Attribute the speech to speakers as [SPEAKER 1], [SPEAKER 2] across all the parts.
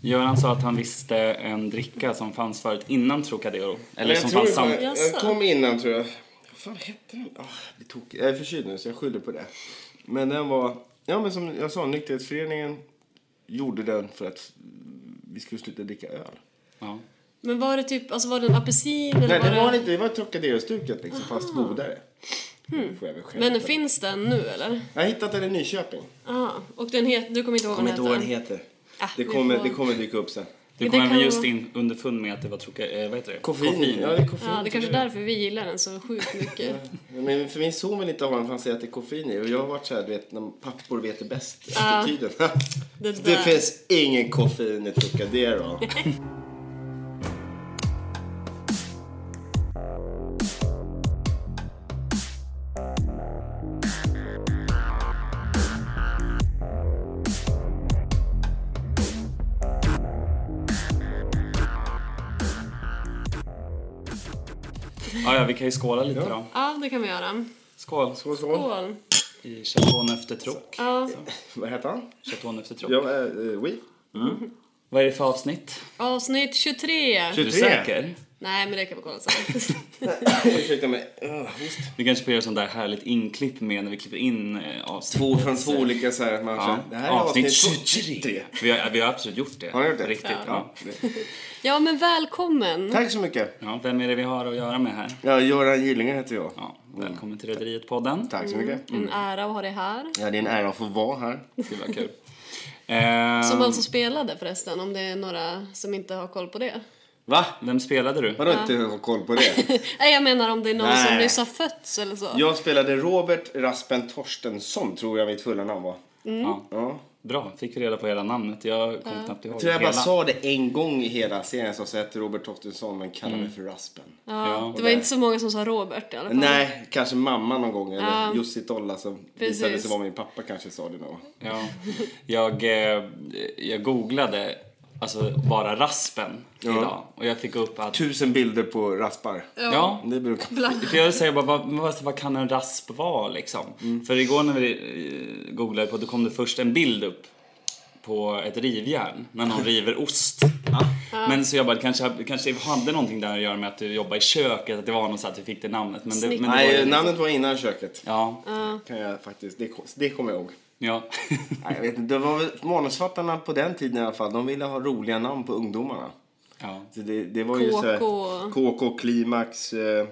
[SPEAKER 1] Göran sa att han visste en dricka som fanns förut innan Trocadero. Eller
[SPEAKER 2] jag
[SPEAKER 1] som
[SPEAKER 2] tror
[SPEAKER 1] fanns
[SPEAKER 2] det
[SPEAKER 1] sam...
[SPEAKER 2] var- jag kom innan tror jag. Vad fan hette den? Ah, jag, blir tokig. jag är förkyld nu så jag skyller på det. Men den var, ja men som jag sa, nykterhetsföreningen gjorde den för att vi skulle sluta dricka öl.
[SPEAKER 1] Ja.
[SPEAKER 3] Men var det typ, alltså var det en apelsin eller
[SPEAKER 2] Nej,
[SPEAKER 3] var
[SPEAKER 2] det var inte, det var Trocadero-stuket liksom, fast godare. Får jag väl skämta.
[SPEAKER 3] Hm. Men finns den nu eller?
[SPEAKER 2] Jag har hittat den i Nyköping.
[SPEAKER 3] Ja. Och den heter, du kommer inte ihåg
[SPEAKER 2] Kommer inte ihåg vad den
[SPEAKER 3] heter?
[SPEAKER 2] heter.
[SPEAKER 3] Ah,
[SPEAKER 2] Det
[SPEAKER 3] vi
[SPEAKER 2] kommer,
[SPEAKER 3] får-
[SPEAKER 2] det kommer dyka upp sen.
[SPEAKER 1] Du
[SPEAKER 3] Men
[SPEAKER 1] kom
[SPEAKER 3] det
[SPEAKER 1] även
[SPEAKER 3] kan
[SPEAKER 1] just
[SPEAKER 3] vara-
[SPEAKER 1] in underfund med att det var Trocadero... Eh, vad heter det?
[SPEAKER 2] Koffein. Ja, det är koffein.
[SPEAKER 3] Ja, det är kanske är därför vi gillar den så sjukt mycket.
[SPEAKER 2] Men för min son vill inte ha den för han säger att det är koffein i. Och jag har varit så här, du vet, när pappor vet det bäst. Attityden.
[SPEAKER 3] Det
[SPEAKER 2] det
[SPEAKER 3] där.
[SPEAKER 2] finns ingen koffein i Trocadero.
[SPEAKER 1] Ja, ja, vi kan ju skåla lite
[SPEAKER 2] Ja.
[SPEAKER 1] då.
[SPEAKER 3] Ja, det kan vi göra.
[SPEAKER 1] Skål.
[SPEAKER 2] Skål, skål.
[SPEAKER 3] Skål.
[SPEAKER 1] I Chateau efter Troc.
[SPEAKER 3] Ja,
[SPEAKER 2] Vad heter han?
[SPEAKER 1] Chateau efter Troc.
[SPEAKER 2] Ja, uh, oui.
[SPEAKER 1] Vad är det för avsnitt?
[SPEAKER 3] avsnitt 23.
[SPEAKER 1] Är du
[SPEAKER 2] 23.
[SPEAKER 1] säker?
[SPEAKER 3] Nej, men det kan vi kolla sen.
[SPEAKER 2] Ursäkta mig. Uh, just.
[SPEAKER 1] Vi kanske får göra sånt där härligt inklipp med när vi klipper in eh, avsnitt.
[SPEAKER 2] Två från två olika så här att man
[SPEAKER 1] Ja.
[SPEAKER 2] ja. Det här är avsnitt,
[SPEAKER 1] avsnitt 23.
[SPEAKER 2] tre.
[SPEAKER 1] Vi har, vi har absolut gjort det.
[SPEAKER 2] Har ni gjort det?
[SPEAKER 1] Riktigt. Ja. Ja.
[SPEAKER 2] Ja.
[SPEAKER 3] Ja, men välkommen.
[SPEAKER 2] Tack så mycket.
[SPEAKER 1] vem är det vi har att göra med här?
[SPEAKER 2] Ja, Göran Gillinger heter jag.
[SPEAKER 1] Ja, välkommen till Rederiet-podden.
[SPEAKER 2] Mm. Tack så mycket.
[SPEAKER 3] En ära att ha dig här.
[SPEAKER 2] Ja, det är en ära att få vara här.
[SPEAKER 1] Gud vad kul. Ehm,
[SPEAKER 3] Som alltså spelade förresten, om det är några som inte har koll på det.
[SPEAKER 2] Va?
[SPEAKER 1] Vem spelade du?
[SPEAKER 2] Vadå inte ha koll på det?
[SPEAKER 3] Nej, jag menar om det är någon som
[SPEAKER 2] Nej.
[SPEAKER 3] nyss har fötts eller så.
[SPEAKER 2] Jag spelade Robert Raspen Torstensson, tror jag mitt fulla namn var.
[SPEAKER 1] Ja.
[SPEAKER 2] Ja.
[SPEAKER 1] Bra, fick vi reda på hela namnet. Jag kom knappt ihåg
[SPEAKER 2] Jag tror jag bara
[SPEAKER 1] hela.
[SPEAKER 2] sa det en gång i hela serien så sa jag till Robert Torstensson men kallade
[SPEAKER 1] Mm.
[SPEAKER 2] mig för Raspen.
[SPEAKER 1] Ja.
[SPEAKER 3] Ja, det var inte så många som sa Robert i alla fall.
[SPEAKER 2] Nej, kanske mamma någon gång eller Jussi Tolla som visade sig
[SPEAKER 3] Precis.
[SPEAKER 2] vara min pappa kanske sa det någon gång.
[SPEAKER 1] Ja. Jag, eh, jag googlade alltså bara raspen idag och jag fick upp att...
[SPEAKER 2] Tusen bilder på raspar.
[SPEAKER 1] Ja.
[SPEAKER 2] Det brukar...
[SPEAKER 3] Bland...
[SPEAKER 1] För jag säger bara, vad, men vad, vad kan en rasp vara liksom?
[SPEAKER 2] Mm.
[SPEAKER 1] För igår när vi eh, googlade på, då kom det först en bild upp på ett rivjärn när någon river ost. Men så jag bara, det kanske, det kanske hade någonting där att göra med att du jobbar i köket, att det var något så att du fick det namnet. Men det, men det var
[SPEAKER 2] Nej,
[SPEAKER 1] ju,
[SPEAKER 2] namnet var innan köket.
[SPEAKER 1] ja,
[SPEAKER 2] Kan jag faktiskt, det, det kommer jag ihåg.
[SPEAKER 1] ja.
[SPEAKER 2] Nej, jag vet inte, det var väl manusfattarna på den tiden i alla fall. De ville ha roliga namn på ungdomarna.
[SPEAKER 1] ja.
[SPEAKER 2] Så det, det var ju
[SPEAKER 3] KK.
[SPEAKER 2] så här, KK, Klimax, eh,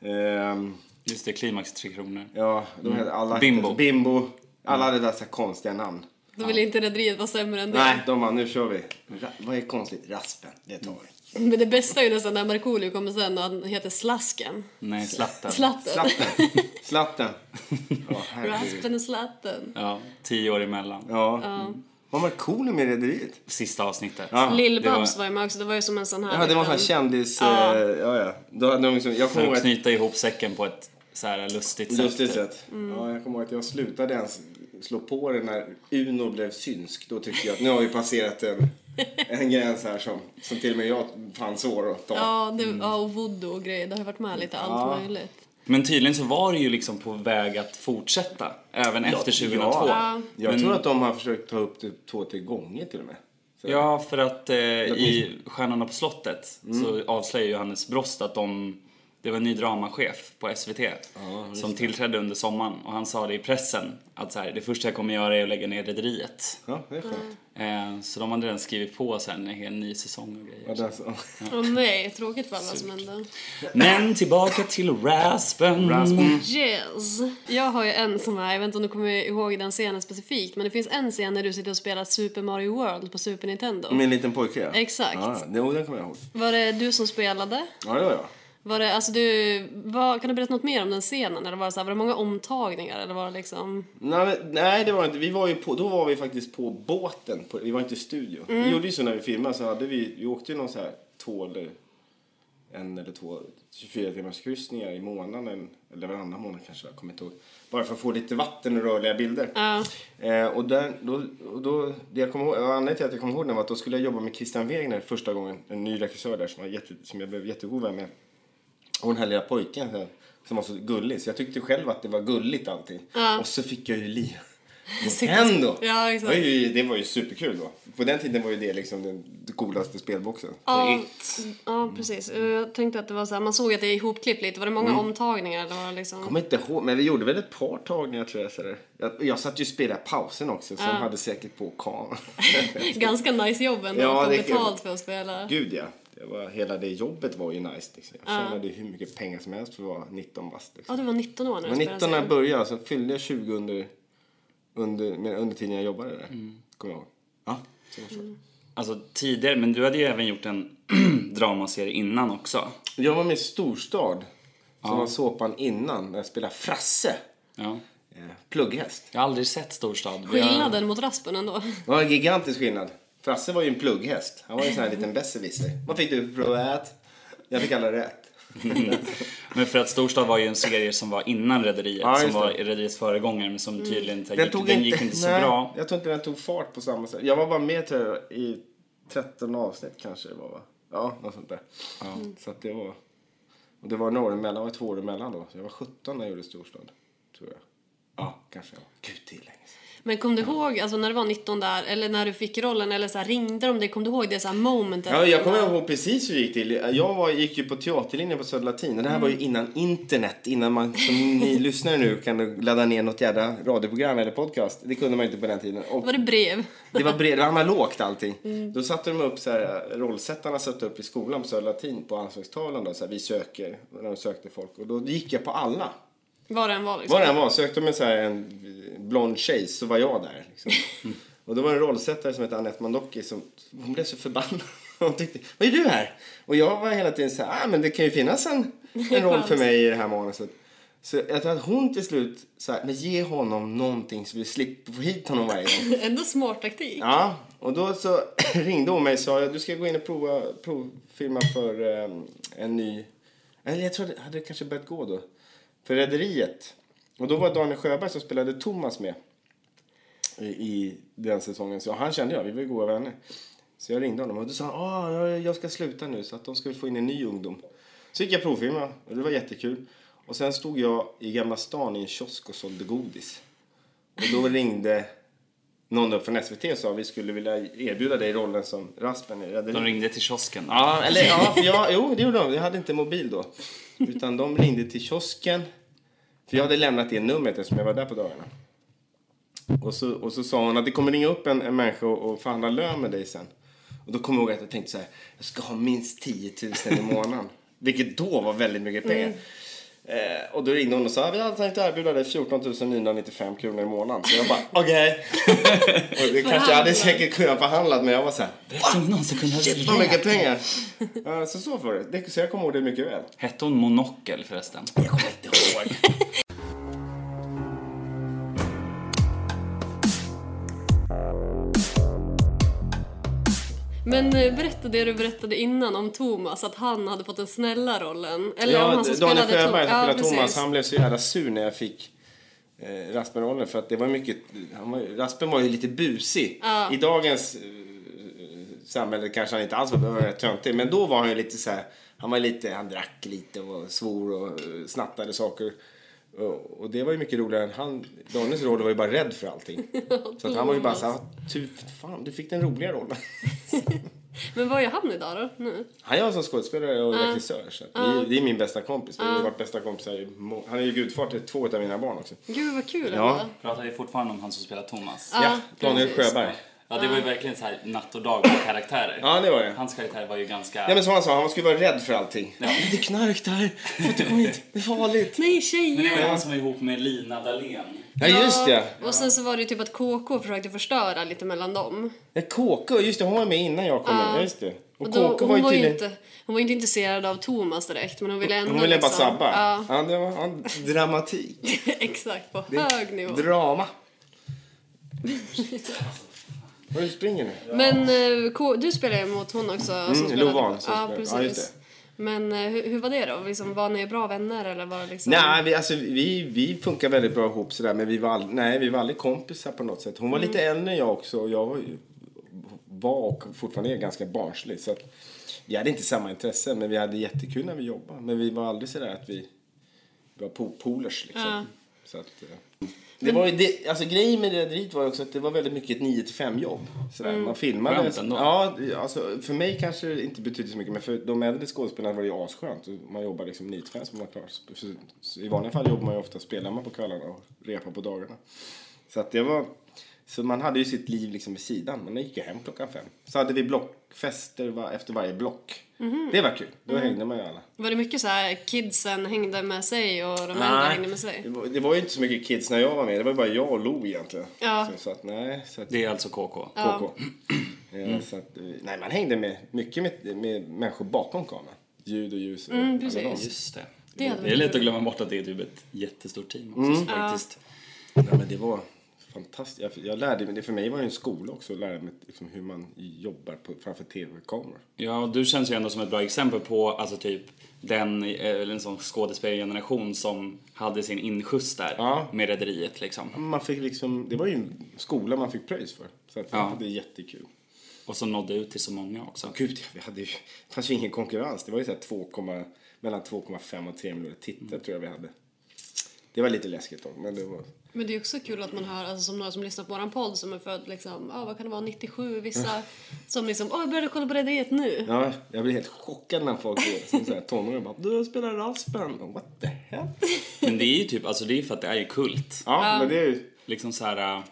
[SPEAKER 2] ehm,
[SPEAKER 1] Just det, klimax Tre Kronor.
[SPEAKER 2] ja, de hette alla
[SPEAKER 1] Bimbo.
[SPEAKER 2] Bimbo. Alla hade där så här konstiga namn.
[SPEAKER 3] Då vill inte rederiet vara sämre än det.
[SPEAKER 2] Nej, de bara, nu kör vi. Ra- vad är konstigt? Raspen, det tar vi.
[SPEAKER 3] Men det bästa är ju nästan när Markoolio kommer sen och han heter Slasken.
[SPEAKER 1] Nej, Zlatan.
[SPEAKER 3] Slatten.
[SPEAKER 2] Slatten. Slatten. Ja, herregud.
[SPEAKER 3] Raspen och Slatten.
[SPEAKER 1] Ja, tio år emellan.
[SPEAKER 2] Ja. Mm. Vad var cool med Rederiet?
[SPEAKER 1] Sista avsnittet.
[SPEAKER 2] Ja.
[SPEAKER 3] Lill-Babs
[SPEAKER 1] det
[SPEAKER 3] var ju med också, det var ju som en sån här
[SPEAKER 2] Ja, det var en sån här
[SPEAKER 3] liten-
[SPEAKER 2] kändis...
[SPEAKER 3] Ja.
[SPEAKER 2] Ja, eh, ja. ja. Då hade de liksom, jag kommer
[SPEAKER 1] För
[SPEAKER 2] ihåg
[SPEAKER 1] att
[SPEAKER 2] att
[SPEAKER 1] knyta ihop säcken på ett så här lustigt sätt.
[SPEAKER 2] Lustigt sätt. Ja, jag kommer ihåg att jag slutade ens slå på det när Uno blev synsk. Då tyckte jag att nu har vi passerat en, en gräns här som, som till och med jag fann svår att ta.
[SPEAKER 3] Ja, det,
[SPEAKER 2] Mm.
[SPEAKER 3] ja, och voodoo och grejer. Det har ju varit med lite allt möjligt.
[SPEAKER 1] Men tydligen så var det ju liksom på väg att fortsätta även efter 2002.
[SPEAKER 2] Ja.
[SPEAKER 1] Ja,
[SPEAKER 2] Jag tror att de har försökt ta upp det två, tre gånger till och med. Så.
[SPEAKER 1] för att eh, i Stjärnorna på slottet så
[SPEAKER 2] Mm.
[SPEAKER 1] avslöjar Johannes Brost att de det var en ny dramachef på SVT som tillträdde under sommaren och han sa det i pressen att så här, det första jag kommer göra är att lägga ner Rederiet.
[SPEAKER 2] Ja, det är skönt.
[SPEAKER 1] Eh, så de hade redan skrivit på sen en hel ny säsong och
[SPEAKER 2] Ja,
[SPEAKER 1] grejer.
[SPEAKER 2] det är så.
[SPEAKER 3] Åh nej, tråkigt för alla som hände.
[SPEAKER 1] Men tillbaka till Raspen.
[SPEAKER 3] Yes! Jag har ju en som är, jag vet inte om du kommer ihåg den scenen specifikt, men det finns en scen när du sitter och spelar Super Mario World på Super Nintendo.
[SPEAKER 2] Min liten pojke ja.
[SPEAKER 3] Exakt.
[SPEAKER 2] Ja, det, jo, den kommer jag ihåg.
[SPEAKER 3] Var det du som spelade?
[SPEAKER 2] Ja, det var jag.
[SPEAKER 3] Var det, alltså du, vad, kan du berätta något mer om den scenen? Eller var det, så här, var det många omtagningar? Eller var det liksom...
[SPEAKER 2] Nej, men- nej, det var det inte. Vi var ju på, då var vi faktiskt på båten. På, vi var inte i studio. Vi gjorde ju så när vi filmade så hade vi, vi åkte ju någon så här två eller en eller två 24 timmars kryssningar i månaden eller varannan månad kanske, jag kommer inte ihåg. Bara för att få lite vatten och rörliga bilder.
[SPEAKER 3] Ja.
[SPEAKER 2] Eh, och där, då, och då, det jag kommer ihåg, och anledningen till att jag kommer ihåg den var att då skulle jag jobba med Christian Wegner första gången, en ny regissör där som, var jätte, som jag blev jättegod vän med. Och den här lilla pojken här, som var så gullig, så jag tyckte själv att det var gulligt allting. Och så fick jag ju liv. Nintendo!
[SPEAKER 3] Ja,
[SPEAKER 2] Det
[SPEAKER 3] exakt.
[SPEAKER 2] var ju, det var ju superkul då. På den tiden var ju det liksom den coolaste spelboxen.
[SPEAKER 3] Ja,
[SPEAKER 1] It.
[SPEAKER 3] ja, precis. Eh, Jag tänkte att det var så här, man såg att det är ihopklippt lite. Var det många omtagningar? Det var liksom...
[SPEAKER 2] Mm. kommer inte ihåg, men vi gjorde väl ett par tagningar tror jag. Så där. Jag, jag satt ju och spelade pausen också, som hade säkert på kameran.
[SPEAKER 3] Ganska nice jobb ändå
[SPEAKER 2] Ja,
[SPEAKER 3] att få
[SPEAKER 2] det är kul.
[SPEAKER 3] betalt för att spela.
[SPEAKER 2] Gud ja. Det var, hela det jobbet var ju nice. Liksom. Jag tjänade hur mycket pengar som helst för att vara 19 bast. Liksom.
[SPEAKER 3] Ja, du var 19 år när
[SPEAKER 2] Jag
[SPEAKER 3] du
[SPEAKER 2] var 19 när
[SPEAKER 3] spelade.
[SPEAKER 2] jag började, så fyllde jag 20 under, under, men under tiden jag jobbade där. Kommer jag ihåg. Ja. så var det så.
[SPEAKER 1] Alltså tidigare, men du hade ju även gjort en dramaserie innan också.
[SPEAKER 2] Jag var med i Storstad, som var såpan innan, när jag spelade Frasse.
[SPEAKER 1] Ja.
[SPEAKER 2] Eh, plugghäst.
[SPEAKER 1] Jag har aldrig sett Storstad. Vi har-
[SPEAKER 3] Skillnaden mot Raspen ändå.
[SPEAKER 2] Det var en gigantisk skillnad. Frasse var ju en plugghäst. Han var ju en sån här liten besserwisser. Vad fick du? Rätt. Jag fick alla rätt.
[SPEAKER 1] Men för att Storstad var ju en serie som var innan Rederiet,
[SPEAKER 2] Ja, just
[SPEAKER 1] som var
[SPEAKER 2] det.
[SPEAKER 1] Rederiets föregångare men som tydligen inte
[SPEAKER 2] Den
[SPEAKER 1] gick, den gick inte så
[SPEAKER 2] nej,
[SPEAKER 1] bra.
[SPEAKER 2] Jag tror inte den tog fart på samma sätt. Jag var bara med tror jag, i 13 avsnitt kanske det var va? Ja, något sånt där. Ja. Så att det var... Och det var några år emellan, det var två år emellan då. Så jag var 17 när jag gjorde Storstad. Tror jag. Ja, kanske jag var. Gud, det är länge sedan.
[SPEAKER 3] Men kom du ihåg, alltså när du var 19 där, eller när du fick rollen, eller så här, ringde de dig? Kom du ihåg det så här momentet?
[SPEAKER 2] Ja, jag kommer ihåg precis hur det gick till. Jag var, gick ju på teaterlinjen på Södra Latin. Och det här var ju innan internet. Innan man, som ni lyssnar nu, kan ladda ner något jävla radioprogram eller podcast. Det kunde man ju inte på den tiden. Och
[SPEAKER 3] Var det brev?
[SPEAKER 2] Det var, bred, det var analogt allting. Då satte de upp så här, rollsättarna satte upp i skolan på Södra Latin på anslagstavlan då, så här, vi söker, när de sökte folk. Och då gick jag på alla.
[SPEAKER 3] Var det en var liksom?
[SPEAKER 2] Var det än var, sökte de en, så här, en blond tjej så var jag där. Liksom. Och då var det en rollsättare som hette Anette Mandocki som, hon blev så förbannad. Hon tyckte, vad är du här? Och jag var hela tiden så här, ah, men det kan ju finnas en, en roll för mig i det här manuset. Så jag tror att hon till slut så här, men ge honom någonting så vi slipper få hit honom varje gång.
[SPEAKER 3] Ändå smart taktik.
[SPEAKER 2] Ja, och då så ringde hon mig och sa du ska gå in och prova, provfilma för eh, en ny... Eller jag tror det hade kanske börjat gå då. För Rederiet. Och då var Daniel Sjöberg som spelade Thomas med i, i den säsongen. Så han kände jag, vi var ju goda vänner. Så jag ringde honom och då sa han, ah, jag, jag ska sluta nu så att de ska få in en ny ungdom. Så gick jag provfilma och det var jättekul. Och sen stod jag i Gamla stan i en kiosk och sålde godis. Och då ringde någon upp från SVT och sa vi skulle vilja erbjuda dig rollen som Raspen i Rederiet.
[SPEAKER 1] De ringde till kiosken.
[SPEAKER 2] Ja, eller ja, för jag, jo det gjorde de. Jag hade inte mobil då. Utan de ringde till kiosken. För jag hade lämnat det numret eftersom jag var där på dagarna. Och så, och så sa hon att det kommer ringa upp en, en människa och, och förhandla lön med dig sen. Och då kommer jag ihåg att jag tänkte så här, jag ska ha minst 10 000 i månaden. Vilket då var väldigt mycket pengar. Eh, och då ringde hon och sa, vi hade tänkt erbjuda dig 14 995 kronor i månaden. Så jag bara, okej. och det kanske jag hade
[SPEAKER 3] Förhandla.
[SPEAKER 2] säkert kunnat förhandla men jag var så här,
[SPEAKER 1] Vet om någon som kunde ha
[SPEAKER 2] Shit vad mycket pengar! Eh, så så var det. det. Så jag kommer ihåg det mycket väl.
[SPEAKER 1] Hette hon Monokel förresten?
[SPEAKER 2] Jag kommer inte ihåg.
[SPEAKER 3] Men eh, berätta det du berättade innan om Thomas, att han hade fått den snälla rollen. Eller om
[SPEAKER 2] ja,
[SPEAKER 3] han som
[SPEAKER 2] Daniel
[SPEAKER 3] spelade Tom-
[SPEAKER 2] Sjöberg som
[SPEAKER 3] Ja,
[SPEAKER 2] spelade
[SPEAKER 3] precis.
[SPEAKER 2] Thomas, han blev så jävla sur när jag fick eh, Raspen-rollen för att det var mycket, han var, ju- Raspen var ju lite busig. I dagens eh, samhälle kanske han inte alls var, han var rätt töntig, men då var han ju lite så här, han var lite, han drack lite och svor och eh, snattade saker. Och, och det var ju mycket roligare än han, Daniels roll var ju bara rädd för allting. så att han var ju bara så här, "Tu- fan du fick den roliga rollen.
[SPEAKER 3] Men var är han idag då? Nu?
[SPEAKER 2] Han jobbar som skådespelare och regissör. Så att vi, det är min bästa kompis. Vi har varit bästa kompisar i må- Han är ju gudfar till två av mina barn också.
[SPEAKER 3] Gud vad kul
[SPEAKER 2] Ja.
[SPEAKER 3] ändå.
[SPEAKER 1] Pratar vi fortfarande om han som spelar Thomas?
[SPEAKER 3] Ja,
[SPEAKER 2] ja, Daniel
[SPEAKER 3] precis.
[SPEAKER 2] Sjöberg.
[SPEAKER 1] Ja, det var ju verkligen så här natt och dag med karaktärer.
[SPEAKER 2] Ja, det var det.
[SPEAKER 1] Hans karaktär var ju ganska...
[SPEAKER 2] Ja, men som han sa, han skulle vara rädd för allting. Det är knark där. Får inte komma hit. Det är farligt.
[SPEAKER 3] Nej,
[SPEAKER 1] Det var
[SPEAKER 3] tjejer!
[SPEAKER 1] ju han som var ihop med Lina Dahlén.
[SPEAKER 2] Ja, just det.
[SPEAKER 3] Och sen så var det ju typ att KK försökte förstöra lite mellan dem.
[SPEAKER 2] Ja, KK, just det. Hon var med innan jag kom in. Ja, just det. Och,
[SPEAKER 3] Och då,
[SPEAKER 2] KK var
[SPEAKER 3] hon,
[SPEAKER 2] ju
[SPEAKER 3] var ju
[SPEAKER 2] tydligen...
[SPEAKER 3] inte, hon var ju inte intresserad av Thomas direkt, men hon ville ändå
[SPEAKER 2] Hon ville bara
[SPEAKER 3] liksom-
[SPEAKER 2] sabba.
[SPEAKER 3] Ja,
[SPEAKER 2] Ja, det var ja, dramatik.
[SPEAKER 3] exakt. På hög nivå.
[SPEAKER 2] Drama. Vad du springer nu?
[SPEAKER 3] Men eh, K- du spelar ju mot hon också. som spelade-
[SPEAKER 2] Mm, Lovan som
[SPEAKER 3] Ja,
[SPEAKER 2] spelar-
[SPEAKER 3] precis.
[SPEAKER 2] ja, just
[SPEAKER 3] Men eh, hur, hur var det då? Liksom, var ni bra vänner eller var det liksom...
[SPEAKER 2] Nej, vi, alltså, vi, vi funkar väldigt bra ihop sådär, men vi var, all, nej, vi var aldrig kompisar på något sätt. Hon var lite äldre än jag också och jag var, ju- var och fortfarande är ganska barnslig. Så att, vi hade inte samma intressen, men vi hade jättekul när vi jobbade. Men vi var aldrig sådär att vi var po- polers liksom.
[SPEAKER 3] Ja.
[SPEAKER 2] Så att, eh. det var ju det, alltså grejen med rederiet var ju också att det var väldigt mycket ett 9 till 5 jobb. Sådär. Man filmade.
[SPEAKER 1] Skönt ändå.
[SPEAKER 2] Ja, alltså, för mig kanske det inte betydde så mycket men för de äldre skådespelarna var det ju asskönt. Man jobbar liksom 9 till 5 så man klar. Så- så- så I vanliga fall jobbar man ju ofta, spelar man på kvällarna och repar på dagarna. Så att det var, så man hade ju sitt liv liksom vid sidan. Man gick ju hem klockan fem. Så hade vi blockfester va, efter varje block. Det var kul. Då hängde man ju alla.
[SPEAKER 3] Var det mycket så här kidsen hängde med sig och de äldre
[SPEAKER 2] Nej.
[SPEAKER 3] hängde med sig?
[SPEAKER 2] Det var, det var ju inte så mycket kids när jag var med. Det var ju bara jag och Lo egentligen.
[SPEAKER 3] Ja.
[SPEAKER 2] Så, så att nej, så att,
[SPEAKER 1] Det är alltså KK.
[SPEAKER 2] KK. Eh, Så att, eh, nej, man hängde med, mycket med, med människor bakom kameran. Ljud och ljus. Och
[SPEAKER 3] Mm, precis.
[SPEAKER 2] alla de.
[SPEAKER 1] Just det.
[SPEAKER 3] Det
[SPEAKER 1] Det
[SPEAKER 3] hade
[SPEAKER 1] är,
[SPEAKER 3] varit
[SPEAKER 1] lätt
[SPEAKER 3] kul.
[SPEAKER 1] att glömma bort att det är typ ett jättestort team också,
[SPEAKER 2] Mm.
[SPEAKER 1] så faktiskt.
[SPEAKER 2] Nej, men det var fantastiskt. Jag, jag lärde mig, det för mig var det en skola också att lära mig liksom, hur man jobbar på, framför tv-kameror.
[SPEAKER 1] Ja, och du känns ju ändå som ett bra exempel på alltså typ den eh, eller en sån skådespelargeneration som hade sin inskjuts där
[SPEAKER 2] Ja.
[SPEAKER 1] med Rederiet liksom.
[SPEAKER 2] Man fick liksom, det var ju en skola man fick pröjs för. Så att,
[SPEAKER 1] Ja.
[SPEAKER 2] det är jättekul.
[SPEAKER 1] Och som nådde ut till så många också.
[SPEAKER 2] Gud, vi hade ju, det fanns ju ingen konkurrens. Det var ju så här 2, mellan 2,5 och 3 miljoner tittare
[SPEAKER 1] Mm.
[SPEAKER 2] tror jag vi hade. Det var lite läskigt då, men det var...
[SPEAKER 3] Men det är också kul att man hör, alltså som några som lyssnar på våran podd som är född liksom, ja vad kan det vara, 97, vissa som liksom, åh jag började kolla på Rederiet nu.
[SPEAKER 2] Mm. Ja, jag blev helt chockad när folk som så här, tonåringar bara Du spelar Raspen! Och, What the hell? Ja,
[SPEAKER 1] Men det är ju typ, alltså det är för att det är ju kult.
[SPEAKER 2] men det är ju...
[SPEAKER 1] Liksom så här. eh,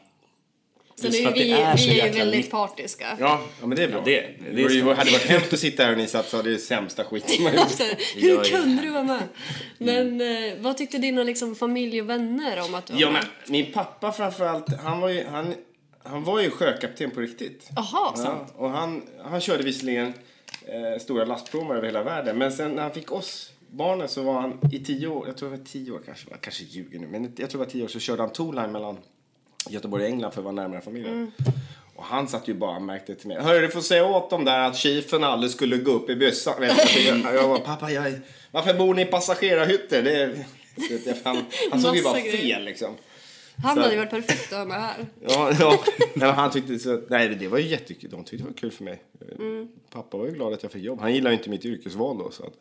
[SPEAKER 3] Sen
[SPEAKER 1] Just
[SPEAKER 3] är
[SPEAKER 1] för
[SPEAKER 3] ju
[SPEAKER 1] att
[SPEAKER 3] vi,
[SPEAKER 1] det är så
[SPEAKER 3] vi är ju
[SPEAKER 1] jäkla
[SPEAKER 3] väldigt
[SPEAKER 1] nytt.
[SPEAKER 3] partiska.
[SPEAKER 2] Ja, ja men det är bra.
[SPEAKER 1] Ja, det- det är
[SPEAKER 2] var ju-
[SPEAKER 1] så.
[SPEAKER 2] hade varit hemskt att sitta här och ni satt så hade det sämsta skiten man gjort.
[SPEAKER 3] Alltså,
[SPEAKER 1] gör
[SPEAKER 3] hur
[SPEAKER 1] ju
[SPEAKER 3] kunde du vara med? Men eh, vad tyckte dina liksom, familj och vänner om att du var
[SPEAKER 2] Mm. Ja, men
[SPEAKER 3] med?
[SPEAKER 2] min pappa framförallt, han var ju, han, han var ju sjökapten på riktigt.
[SPEAKER 3] Jaha, sant.
[SPEAKER 2] Ja, och han, han körde visserligen eh, stora lastpråmar över hela världen. Men sen när han fick oss barnen så var han i tio år, jag tror det var tio år kanske, jag kanske ljuger nu, men jag tror det var tio år så körde han Tourline mellan Göteborg och England för att vara närmare familjen.
[SPEAKER 3] Mm.
[SPEAKER 2] Och han satt ju bara och märkte till mig. Hörru, du får säga åt dem där att chiefen aldrig skulle gå upp i byssan. Vet du, Jag jag var pappa, jag, är- varför bor ni i passagerarhytter? Det, är- vet jag, han, han såg ju
[SPEAKER 3] Massa
[SPEAKER 2] bara
[SPEAKER 3] grejer.
[SPEAKER 2] fel liksom.
[SPEAKER 3] Han
[SPEAKER 2] Så-
[SPEAKER 3] hade ju varit perfekt att ha med här.
[SPEAKER 2] Ja, ja. Nej, men han tyckte så att, nej, det var ju jättekul. De tyckte det var kul för mig. Pappa var ju glad att jag fick jobb. Han gillade ju inte mitt yrkesval då. Så att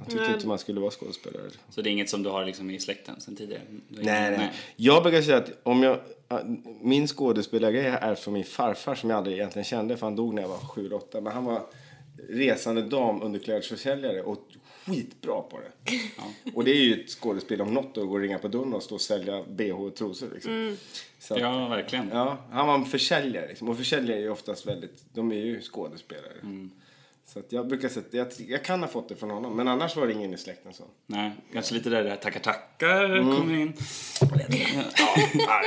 [SPEAKER 2] han tyckte inte man skulle vara skådespelare.
[SPEAKER 1] Så det är inget som du har liksom i släkten sen tidigare? Du är
[SPEAKER 2] Nej,
[SPEAKER 1] ingen-
[SPEAKER 2] nej. Jag brukar säga att om jag, äh, min skådespelargrej är från min farfar som jag aldrig egentligen kände för han dog när jag var 7 eller 8. Men han var resande damunderklädesförsäljare och skitbra på det. Och det är ju ett skådespel om något att gå och ringa på dörren och stå och sälja bh och trosor. Liksom. Så att-
[SPEAKER 1] Ja, verkligen.
[SPEAKER 2] Ja, han var en försäljare liksom. Och försäljare är ju oftast väldigt, de är ju skådespelare. Så att jag brukar säga, att jag, jag kan ha fått det från honom. Men annars var det ingen i släkten så.
[SPEAKER 1] Nej, kanske lite där det här tackar tackar
[SPEAKER 2] Mm.
[SPEAKER 1] kommer in.
[SPEAKER 2] Ja,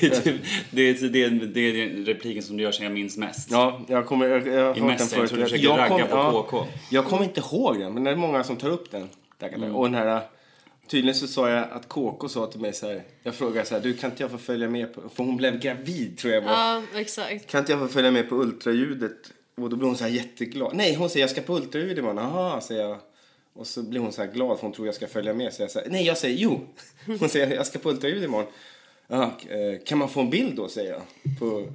[SPEAKER 1] Det är, typ, det, är, det, är, det är repliken som du gör som jag minns mest.
[SPEAKER 2] ja jag kommer, jag, jag har hört den
[SPEAKER 1] mässan, jag
[SPEAKER 2] förut.
[SPEAKER 1] tror du försöker ragga på KK.
[SPEAKER 2] jag kommer inte ihåg den, men det är många som tar upp den. Tackar, tackar.
[SPEAKER 1] Mm.
[SPEAKER 2] Och den här, tydligen så sa jag att KK sa till mig så här, jag frågade så här, du kan inte jag få följa med på, för hon blev gravid tror jag var.
[SPEAKER 3] Ja, exakt.
[SPEAKER 2] Kan inte jag få följa med på ultraljudet? Och då blir hon så här jätteglad. Nej, hon säger jag ska på ultraljud imorgon. Aha, säger jag. Och så blir hon så här glad för hon tror jag ska följa med. Så jag säger, nej jag säger jo. Hon säger jag ska på ultraljud imorgon. Aha, eh, kan man få en bild då, säger jag. På...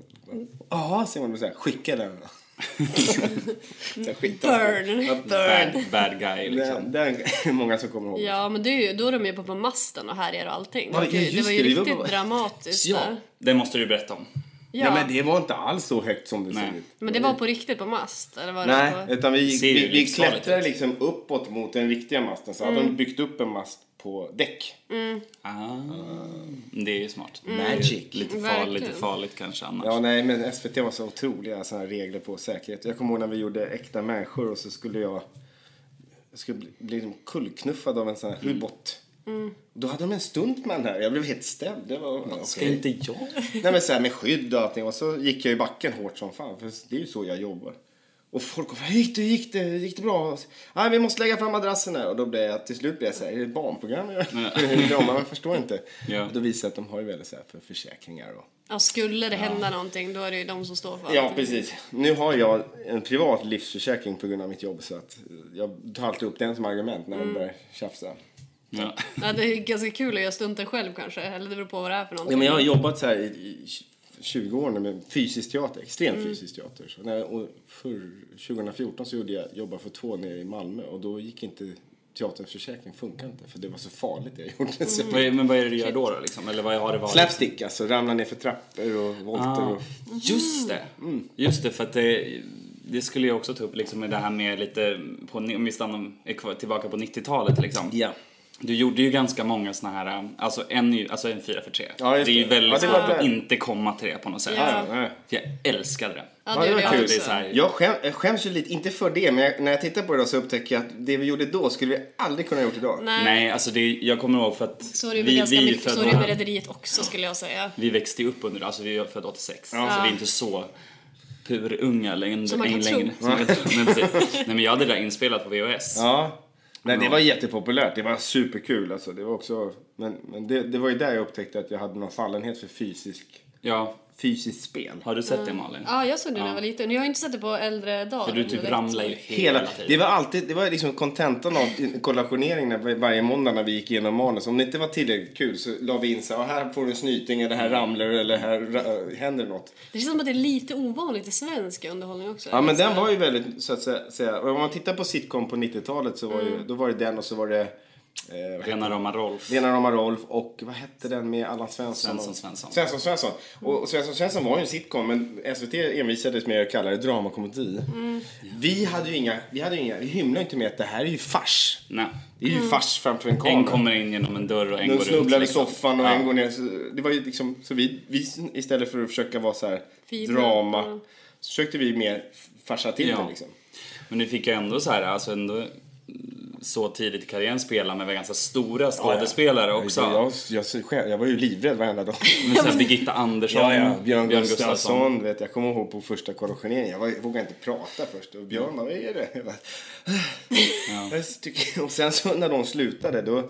[SPEAKER 2] Jaha, säger hon. Och Så här, skicka den. Så här, skicka den.
[SPEAKER 3] Burn.
[SPEAKER 2] Ja, burn.
[SPEAKER 1] Bad, bad guy liksom.
[SPEAKER 2] Den, den är många som kommer ihåg.
[SPEAKER 3] Ja, men det är ju, då är de ju på, på masten och härjar och allting. Det
[SPEAKER 2] Ja,
[SPEAKER 3] var ju, det
[SPEAKER 2] just
[SPEAKER 3] var ju
[SPEAKER 2] det, vi var
[SPEAKER 3] riktigt
[SPEAKER 2] på-
[SPEAKER 3] dramatiskt
[SPEAKER 2] Ja.
[SPEAKER 3] där.
[SPEAKER 1] Det måste du berätta om.
[SPEAKER 3] Ja.
[SPEAKER 2] Nej, men det var inte alls så högt som det
[SPEAKER 1] Nej.
[SPEAKER 2] såg ut.
[SPEAKER 3] Men det var på riktigt på mast? Eller var
[SPEAKER 2] Nej,
[SPEAKER 3] det på...
[SPEAKER 2] utan vi,
[SPEAKER 1] Ser ju
[SPEAKER 2] vi, vi
[SPEAKER 1] livsfarligt
[SPEAKER 2] klättrade
[SPEAKER 1] ut.
[SPEAKER 2] liksom uppåt mot den riktiga masten. Så hade de byggt upp en mast på däck.
[SPEAKER 1] Ah,
[SPEAKER 2] Mm.
[SPEAKER 1] det är ju smart.
[SPEAKER 2] Magic.
[SPEAKER 1] Lite, farligt,
[SPEAKER 3] Verkligen.
[SPEAKER 1] lite farligt kanske annars.
[SPEAKER 2] Mm. Ja, nej, men SVT var så otroliga såna här regler på säkerhet. Jag kommer ihåg när vi gjorde Äkta människor och så skulle jag, jag skulle bli, bli liksom kullknuffad av en sån här ubåt. Då hade de en stuntman här. Jag blev helt ställd. Det var,
[SPEAKER 1] Ska
[SPEAKER 2] okej.
[SPEAKER 1] inte jag?
[SPEAKER 2] Nej, men så här med skydd och allting. Och så gick jag i backen hårt som fan. För det är ju så jag jobbar. Och folk kom hur gick det, hur gick det, hur gick det bra? Och så, Nej, vi måste lägga fram madrassen här. Och då blev jag, till slut blev jag så här, är det ett barnprogram jag gör? Drama, jag förstår inte.
[SPEAKER 1] Ja.
[SPEAKER 2] Då visade jag att de har ju väldigt så här för försäkringar och...
[SPEAKER 3] Ja, skulle det hända någonting då är det ju de som står för
[SPEAKER 2] Ja,
[SPEAKER 3] allting.
[SPEAKER 2] precis. Nu har jag en privat livsförsäkring på grund av mitt jobb så att eh, jag tar alltid upp den som argument när de börjar tjafsa.
[SPEAKER 1] Ja.
[SPEAKER 3] Ja, det är ganska kul att göra stunten själv kanske. Eller det beror på vad det är för någonting.
[SPEAKER 2] Ja, men jag har jobbat så här i, i 20 år nu med fysisk teater, extrem
[SPEAKER 3] Mm.
[SPEAKER 2] fysisk teater. Så när, och för 2014 så gjorde jag Jobba för två nere i Malmö och då gick inte teaterns försäkring funkar inte för det var så farligt det jag
[SPEAKER 3] Mm.
[SPEAKER 2] gjorde. Så jag
[SPEAKER 1] Vad är- Men vad är det du gör då, då liksom? Eller vad har det varit?
[SPEAKER 2] Slapstick alltså, ramla ner för trappor och volter
[SPEAKER 1] Ah,
[SPEAKER 2] och...
[SPEAKER 1] just det!
[SPEAKER 2] Mm.
[SPEAKER 1] Just det, för att det, det skulle jag också ta upp liksom med det här med lite, på, om vi stannar är kvar- tillbaka på 90-talet liksom.
[SPEAKER 2] Ja.
[SPEAKER 1] Du gjorde ju ganska många såna här, alltså en, är ju- alltså en fyra för tre.
[SPEAKER 2] Ja, just
[SPEAKER 1] det är ju
[SPEAKER 2] det.
[SPEAKER 1] väldigt
[SPEAKER 2] Ja, det var
[SPEAKER 1] svårt att
[SPEAKER 2] det.
[SPEAKER 1] inte komma till det på något sätt.
[SPEAKER 3] Ja.
[SPEAKER 2] Ja, nej.
[SPEAKER 1] Jag älskade det.
[SPEAKER 2] Ja,
[SPEAKER 3] Ja, det
[SPEAKER 2] det
[SPEAKER 3] gjorde
[SPEAKER 2] var
[SPEAKER 3] jag
[SPEAKER 2] kul.
[SPEAKER 1] Det är
[SPEAKER 3] också.
[SPEAKER 1] så här,
[SPEAKER 2] Jag skäms, jag skäms ju lite, inte för det, men jag, när jag tittar på det då så upptäcker jag att det vi gjorde då skulle vi aldrig kunna ha gjort idag.
[SPEAKER 3] Nej,
[SPEAKER 1] Nej, alltså det, jag kommer ihåg för att
[SPEAKER 3] så rymmer ganska
[SPEAKER 1] är ju
[SPEAKER 3] mycket. Så
[SPEAKER 1] födda-
[SPEAKER 3] rymmer Rederiet också skulle jag säga.
[SPEAKER 1] vi växte ju upp under det, alltså vi är födda 86.
[SPEAKER 2] Ja.
[SPEAKER 1] Så
[SPEAKER 3] Ja.
[SPEAKER 1] vi är inte så purunga längre.
[SPEAKER 3] Som man kan
[SPEAKER 1] längre.
[SPEAKER 3] tro.
[SPEAKER 1] Som man kan tro. Nej, precis. Nej men jag hade det där inspelat på VHS.
[SPEAKER 2] Ja. Nej, det var jättepopulärt. Det var superkul alltså. Det var också... Men, men det, det var ju där jag upptäckte att jag hade någon fallenhet för fysisk,
[SPEAKER 1] Ja.
[SPEAKER 2] fysiskt spel.
[SPEAKER 1] Har du sett det Malin?
[SPEAKER 3] Ja, jag såg det när jag var liten. Jag har ju inte sett det på äldre dagar.
[SPEAKER 1] För du typ
[SPEAKER 3] direkt.
[SPEAKER 1] ramlar ju hela,
[SPEAKER 2] Hela, det
[SPEAKER 1] tiden.
[SPEAKER 2] var alltid, det var liksom kontentan av kollationeringarna var- varje måndag när vi gick igenom manus. Om det inte var tillräckligt kul så la vi in så här, "Ah, här får du en snyting eller här ramlar du eller här ra- äh, händer något.
[SPEAKER 3] Det känns som att det är lite ovanligt i svensk underhållning också.
[SPEAKER 2] Ja men den var ju väldigt, så att sä- säga, om man tittar på sitcom på 90-talet så var ju, då var det den och så var det eh, vad
[SPEAKER 1] Rena rama Rolf.
[SPEAKER 2] Lena Rama Rolf och vad hette den med Allan Svensson?
[SPEAKER 1] Svensson, Svensson.
[SPEAKER 2] Svensson, Svensson. Och Svensson, Svensson var ju en sitcom men SVT envisades med att kalla det dramakomedi.
[SPEAKER 1] Mm.
[SPEAKER 2] Vi hade ju inga, vi hade ju inga, vi hymlade ju inte med att det här är ju fars.
[SPEAKER 1] Nej.
[SPEAKER 2] Det är ju fars framför en
[SPEAKER 1] En
[SPEAKER 2] kamera.
[SPEAKER 1] kommer in genom en dörr och en
[SPEAKER 2] Den
[SPEAKER 1] går ut.
[SPEAKER 2] snubblar i
[SPEAKER 1] liksom.
[SPEAKER 2] soffan och
[SPEAKER 1] Ja.
[SPEAKER 2] en går ner. Så Det var ju liksom, så vi, vi istället för att försöka vara så här
[SPEAKER 3] Fina.
[SPEAKER 2] drama
[SPEAKER 3] Mm.
[SPEAKER 2] så försökte vi mer farsa till
[SPEAKER 1] Ja.
[SPEAKER 2] det liksom.
[SPEAKER 1] Men ni fick ju ändå så här, alltså ändå så tidigt i karriären spela med ganska stora skådespelare också.
[SPEAKER 2] Jag, jag, jag, jag var ju livrädd varenda dag.
[SPEAKER 1] Men sen Birgitta Andersson,
[SPEAKER 2] Ja, ja. Björn, Gustafsson. Vet, jag kommer ihåg på första korrigeringen. Jag, var, jag vågade inte prata först. Och Björn bara, vad är det? Jag bara, jag tycker, och sen så när de slutade då.